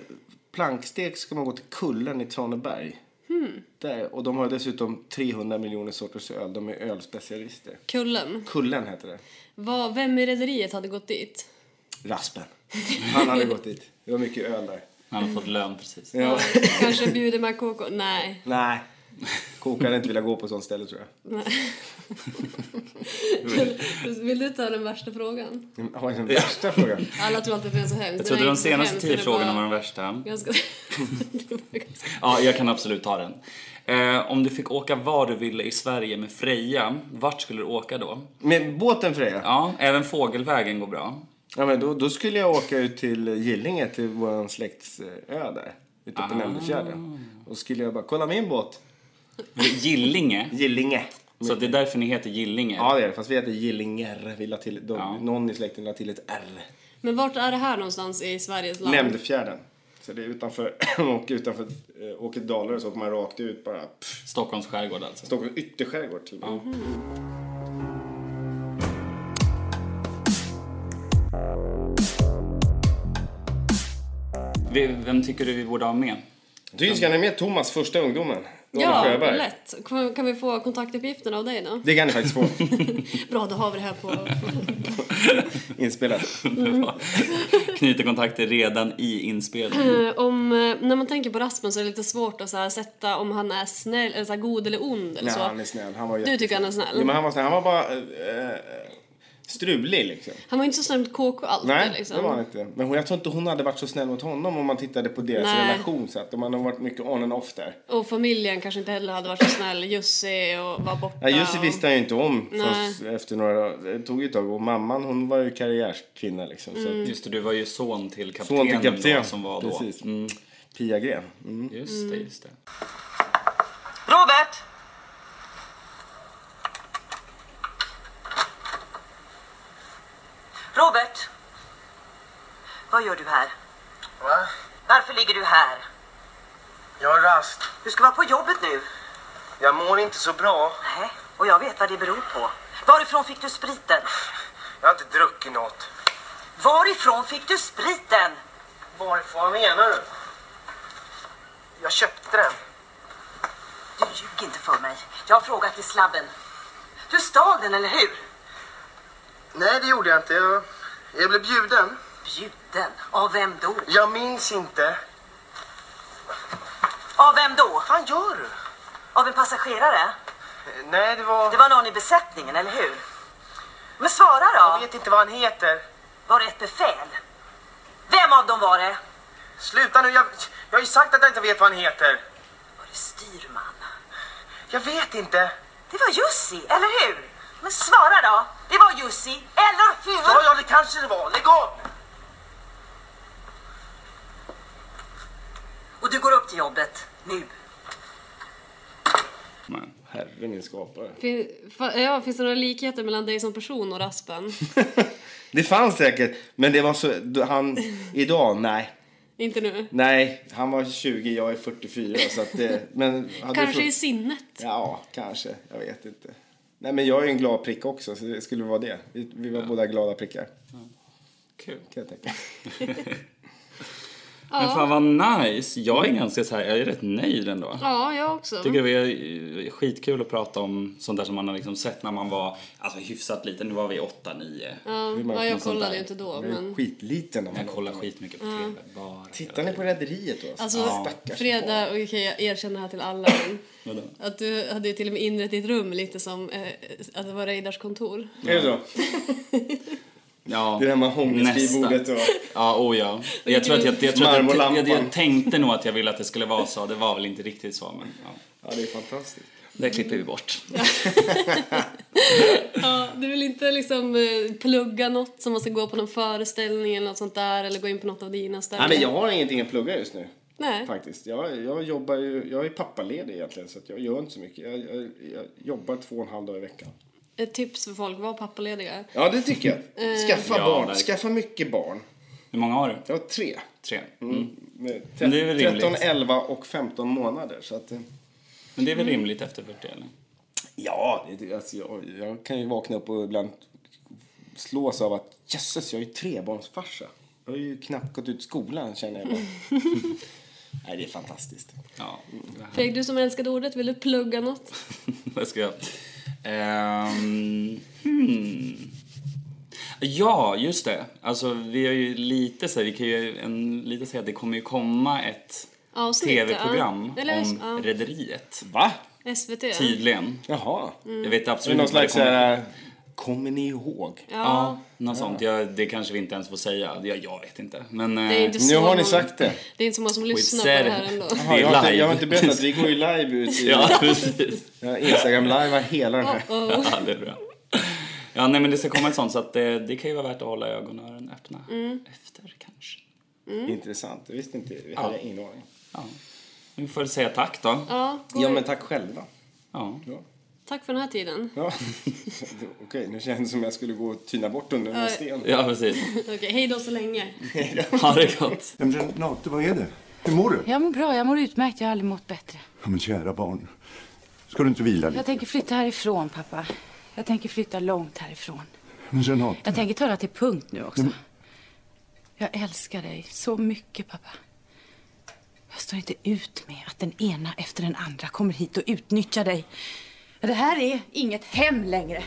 [SPEAKER 2] plankstek ska man gå till Kullen i Traneberg. Där, och de har dessutom 300 miljoner sorters öl. De är ölspecialister.
[SPEAKER 3] Kullen.
[SPEAKER 2] Kullen heter det.
[SPEAKER 3] Vad, vem i rederiet hade gått dit?
[SPEAKER 2] Raspen. Han hade gått dit. Det var mycket öl där.
[SPEAKER 1] Han har fått lön precis. Alltså,
[SPEAKER 2] Ja.
[SPEAKER 3] Kanske bjuder med KK? Nej.
[SPEAKER 2] Nej. Koka hade inte velat gå på sånt ställe tror jag.
[SPEAKER 3] Nej. Vill du ta den värsta frågan?
[SPEAKER 2] Har jag den värsta frågan?
[SPEAKER 3] Alla tror alltid att det är så hemskt.
[SPEAKER 1] Jag trodde de senaste tio frågorna var
[SPEAKER 3] var...
[SPEAKER 1] de värsta.
[SPEAKER 3] Ganska... det var ganska...
[SPEAKER 1] Ja, jag kan absolut ta den. Eh, om du fick åka var du ville i Sverige med Freja, vart skulle du åka då?
[SPEAKER 2] Med båten Freja?
[SPEAKER 1] Ja, även fågelvägen går bra.
[SPEAKER 2] Ja, men då, då skulle jag åka ut till Gillinge, till vår släkts eh, ö där. Ute
[SPEAKER 3] Ah.
[SPEAKER 2] på Nämndefjärden. Och skulle jag bara, kolla min båt.
[SPEAKER 1] Gillinge.
[SPEAKER 2] Gillinge.
[SPEAKER 1] Så det är därför ni heter Gillinge.
[SPEAKER 2] Ja, det är det. Fast vi heter Gillinger. Vi la till, de,
[SPEAKER 1] Ja.
[SPEAKER 2] Någon i släkten la till ett R.
[SPEAKER 3] Men vart är det här någonstans i Sveriges land?
[SPEAKER 2] Nämndefjärden. Så det är utanför, och utanför eh, åker Dalarö så åker man rakt ut bara. Pff,
[SPEAKER 1] Stockholms skärgård alltså.
[SPEAKER 2] Stockholms ytterskärgård till och med.
[SPEAKER 1] Vi- Vem tycker du vi borde ha med?
[SPEAKER 2] Du ska ni med Thomas, första ungdomen. Ronald
[SPEAKER 3] Ja,
[SPEAKER 2] Sjöberg.
[SPEAKER 3] lätt. Kan kan vi få kontaktuppgifterna av dig då?
[SPEAKER 2] Det kan ni faktiskt få
[SPEAKER 3] Bra, då har vi det här på...
[SPEAKER 2] inspelat.
[SPEAKER 3] Mm.
[SPEAKER 1] Knyter kontakter redan i inspelningen.
[SPEAKER 3] Eh, om, eh, när man tänker på Rasmus så är det lite svårt att så här, sätta om han är snäll, eller så här, god eller ond eller
[SPEAKER 2] Nej,
[SPEAKER 3] så.
[SPEAKER 2] han är snäll. Han var
[SPEAKER 3] Du tycker han är snäll?
[SPEAKER 2] Ja, men han var snäll. Han var bara eh, eh, strulig liksom.
[SPEAKER 3] Han var ju inte så snäll mot KK alltid
[SPEAKER 2] Nej,
[SPEAKER 3] liksom.
[SPEAKER 2] det var han inte. Men hon, jag tror inte hon hade varit så snäll mot honom om man tittade på deras
[SPEAKER 3] Nej.
[SPEAKER 2] relation. Så att de hade varit mycket on and off där.
[SPEAKER 3] Och familjen kanske inte heller hade varit så snäll. Jussi och var borta.
[SPEAKER 2] Ja, Jussi
[SPEAKER 3] och...
[SPEAKER 2] visste han ju inte om
[SPEAKER 3] Nej.
[SPEAKER 2] förrän efter några Det tog ju ett tag. Och mamman hon var ju karriärskvinna liksom. Så
[SPEAKER 3] Mm.
[SPEAKER 2] att-
[SPEAKER 1] Just det, du var ju son till
[SPEAKER 2] son
[SPEAKER 1] kaptenen
[SPEAKER 2] till kapten.
[SPEAKER 1] Då, som var då. Mm.
[SPEAKER 2] Precis. Pia Gren. Mm.
[SPEAKER 1] Just det, just det.
[SPEAKER 4] Robert! Robert! Vad gör du här?
[SPEAKER 5] Va?
[SPEAKER 4] Varför ligger du här?
[SPEAKER 5] Jag har rast.
[SPEAKER 4] Du ska vara på jobbet nu.
[SPEAKER 5] Jag mår inte så bra.
[SPEAKER 4] Nej, och jag vet vad det beror på. Varifrån fick du spriten?
[SPEAKER 5] Jag har inte druckit något.
[SPEAKER 4] Varifrån fick du spriten?
[SPEAKER 5] Varifrån? Vad menar du? Jag köpte den.
[SPEAKER 4] Du ljug inte för mig. Jag har frågat i slabben. Du stal den, eller hur?
[SPEAKER 5] Nej, det gjorde jag inte. Jag, jag blev bjuden.
[SPEAKER 4] Bjuden? Av vem då?
[SPEAKER 5] Jag minns inte.
[SPEAKER 4] Av vem då?
[SPEAKER 5] Vad fan gör du?
[SPEAKER 4] Av en passagerare?
[SPEAKER 5] Eh, Nej, det var...
[SPEAKER 4] Det var någon i besättningen, eller hur? Men svara
[SPEAKER 5] Jag
[SPEAKER 4] då!
[SPEAKER 5] vet inte vad han heter.
[SPEAKER 4] Var det ett befäl? Vem av dem var det?
[SPEAKER 5] Sluta nu, jag, jag har ju sagt att jag inte vet vad han heter.
[SPEAKER 4] Var det styrman?
[SPEAKER 5] Jag vet inte.
[SPEAKER 4] Det var Jussi, eller hur? Men svara då! Det var Jussi, eller
[SPEAKER 5] Ja,
[SPEAKER 4] hur?
[SPEAKER 5] ja, det kanske det var. Lägg av!
[SPEAKER 4] Och du går upp till jobbet, nu.
[SPEAKER 1] Men, herre.
[SPEAKER 2] Det är min skapare.
[SPEAKER 3] Fin, fa, ja, finns det några likheter mellan dig som person och raspen?
[SPEAKER 2] Det fanns säkert, men det var så... då Han... Idag? Nej.
[SPEAKER 3] Inte nu.
[SPEAKER 2] Nej, han var 20, jag är 44. Så att det, men hade
[SPEAKER 3] Kanske
[SPEAKER 2] du
[SPEAKER 3] i
[SPEAKER 2] fått-
[SPEAKER 3] sinnet.
[SPEAKER 2] Ja, kanske. Jag vet inte. Nej, men jag är ju en glad prick också, så det skulle vara det. Vi, vi var båda glada prickar,
[SPEAKER 1] Kul.
[SPEAKER 2] kan jag tänka.
[SPEAKER 1] Men fan vad nice. Jag är ganska så här, jag är rätt nöjd ändå.
[SPEAKER 3] Ja, jag också.
[SPEAKER 1] tycker det är eh, skitkul att prata om sånt där som man har liksom sett när man var alltså, hyfsat liten. Nu var vi 8-9.
[SPEAKER 3] Ja, ja, jag kollade ju inte då,
[SPEAKER 2] Jag är
[SPEAKER 3] men...
[SPEAKER 2] skitliten när man
[SPEAKER 1] Jag kollar skitmycket på TV. Bara.
[SPEAKER 2] Tittar ni på Rederiet då?
[SPEAKER 3] Alltså,
[SPEAKER 2] Stackars
[SPEAKER 3] Freda, okej jag erkänner här till alla men
[SPEAKER 1] Vadå?
[SPEAKER 3] att du hade ju till och med inrett ditt rum lite som eh, att det var Reidars kontor.
[SPEAKER 2] barn. Är det så?
[SPEAKER 1] Ja,
[SPEAKER 2] Det där med hångelskribordet
[SPEAKER 1] nästan.
[SPEAKER 2] och...
[SPEAKER 1] Ja, oh ja. Jag tror att jag, jag, tror att jag, jag,
[SPEAKER 2] Marmorlampan.
[SPEAKER 1] jag tänkte nog att jag ville att det skulle vara så. Det var väl inte riktigt så, men ja.
[SPEAKER 2] Ja, det är fantastiskt.
[SPEAKER 1] Det klipper vi bort.
[SPEAKER 3] Ja, du vill inte liksom eh, plugga något som man ska gå på någon föreställning eller något sånt där eller gå in på något av dina ställen?
[SPEAKER 2] Nej, men jag har ingenting att plugga just nu.
[SPEAKER 3] Nej.
[SPEAKER 2] Faktiskt. Jag, jag jobbar ju... Jag är pappaledig egentligen, så att jag gör inte så mycket. Jag, jag, jag jobbar två och en halv dag i veckan.
[SPEAKER 3] Ett tips för folk, var pappalediga.
[SPEAKER 2] Ja, det tycker jag.
[SPEAKER 3] Eh,
[SPEAKER 2] Skaffa
[SPEAKER 1] Ja,
[SPEAKER 2] barn.
[SPEAKER 1] verkligen.
[SPEAKER 2] Skaffa mycket barn.
[SPEAKER 1] Hur många har du?
[SPEAKER 2] Jag har tre.
[SPEAKER 1] Tre.
[SPEAKER 2] Med
[SPEAKER 1] Men det är väl
[SPEAKER 2] 13,
[SPEAKER 1] rimligt.
[SPEAKER 2] 11 och 15 månader. Så att, eh,
[SPEAKER 1] Men det är väl rimligt efter 40, eller?
[SPEAKER 2] ja, det- det, alltså, jag, jag kan ju vakna upp och ibland slås av att jösses, jag är ju trebarnsfarsa. Jag har ju knappt gått ut skolan känner jag. bara. Nej, det är fantastiskt.
[SPEAKER 1] Ja. det här-
[SPEAKER 3] Fredrik, du som älskade ordet, vill du plugga något?
[SPEAKER 1] Vad ska jag... Ehm, hmm. Ja, just det. Alltså, vi har ju lite så här, vi kan ju en, lite säga att det kommer ju komma ett
[SPEAKER 3] Avsnitt,
[SPEAKER 1] tv-program
[SPEAKER 3] ja. Eller,
[SPEAKER 1] om
[SPEAKER 3] ja.
[SPEAKER 1] Rederiet.
[SPEAKER 2] Va?
[SPEAKER 3] SVT? ja.
[SPEAKER 1] Tydligen.
[SPEAKER 2] Jaha. Mm.
[SPEAKER 1] Jag vet
[SPEAKER 2] Det är
[SPEAKER 1] absolut
[SPEAKER 2] någon
[SPEAKER 1] inte vad
[SPEAKER 2] slags...
[SPEAKER 1] det kommer.
[SPEAKER 2] Kommer. kommer ni ihåg?
[SPEAKER 1] Ja, något sånt. Jag, det kanske vi inte ens får säga. Ja, jag vet inte. Men... eh,
[SPEAKER 3] Det är inte
[SPEAKER 2] Nu
[SPEAKER 3] så
[SPEAKER 2] har ni
[SPEAKER 3] många-
[SPEAKER 2] sagt det.
[SPEAKER 3] Det är inte så många som lyssnar på
[SPEAKER 1] said
[SPEAKER 3] det här
[SPEAKER 1] it.
[SPEAKER 3] ändå.
[SPEAKER 2] Jaha, jag, har inte,
[SPEAKER 1] live.
[SPEAKER 2] jag har inte berättat, vi går ju live ut i
[SPEAKER 1] Ja, precis.
[SPEAKER 2] ja. Instagram live hela den här.
[SPEAKER 1] Ja, det är bra. Ja, nej, men det ska komma ett sånt så att eh, det, det kan ju vara värt att hålla ögon och öron öppna
[SPEAKER 3] Mm.
[SPEAKER 1] efter kanske.
[SPEAKER 2] Intressant, det visste inte vi. hade ingen aning.
[SPEAKER 1] Ja. Vi får säga tack då.
[SPEAKER 3] Ja,
[SPEAKER 2] Ja, men tack själva.
[SPEAKER 1] Ja.
[SPEAKER 3] tack för den här tiden.
[SPEAKER 2] Ja. Okej, nu känns det som jag skulle gå och tyna bort under en sten.
[SPEAKER 1] Ja, precis.
[SPEAKER 3] Okej, hej då så länge.
[SPEAKER 1] Ha det gott.
[SPEAKER 6] Men Renate, vad är det? Hur mår du?
[SPEAKER 7] Jag mår bra, jag mår utmärkt. Jag har aldrig mått bättre.
[SPEAKER 6] Ja, men kära barn, ska du inte vila
[SPEAKER 7] Jag
[SPEAKER 6] lite?
[SPEAKER 7] tänker flytta härifrån, pappa. Jag tänker flytta långt härifrån.
[SPEAKER 6] Men Renate,
[SPEAKER 7] Jag tänker ta det till punkt nu också. Jag älskar dig så mycket, pappa. Jag står inte ut med att den ena efter den andra kommer hit och utnyttjar dig. Men Det här är inget hem längre.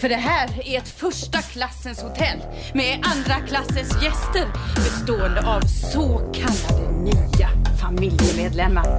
[SPEAKER 7] För det här är ett första klassens hotell med andra klassens gäster bestående av så kallade nya familjemedlemmar.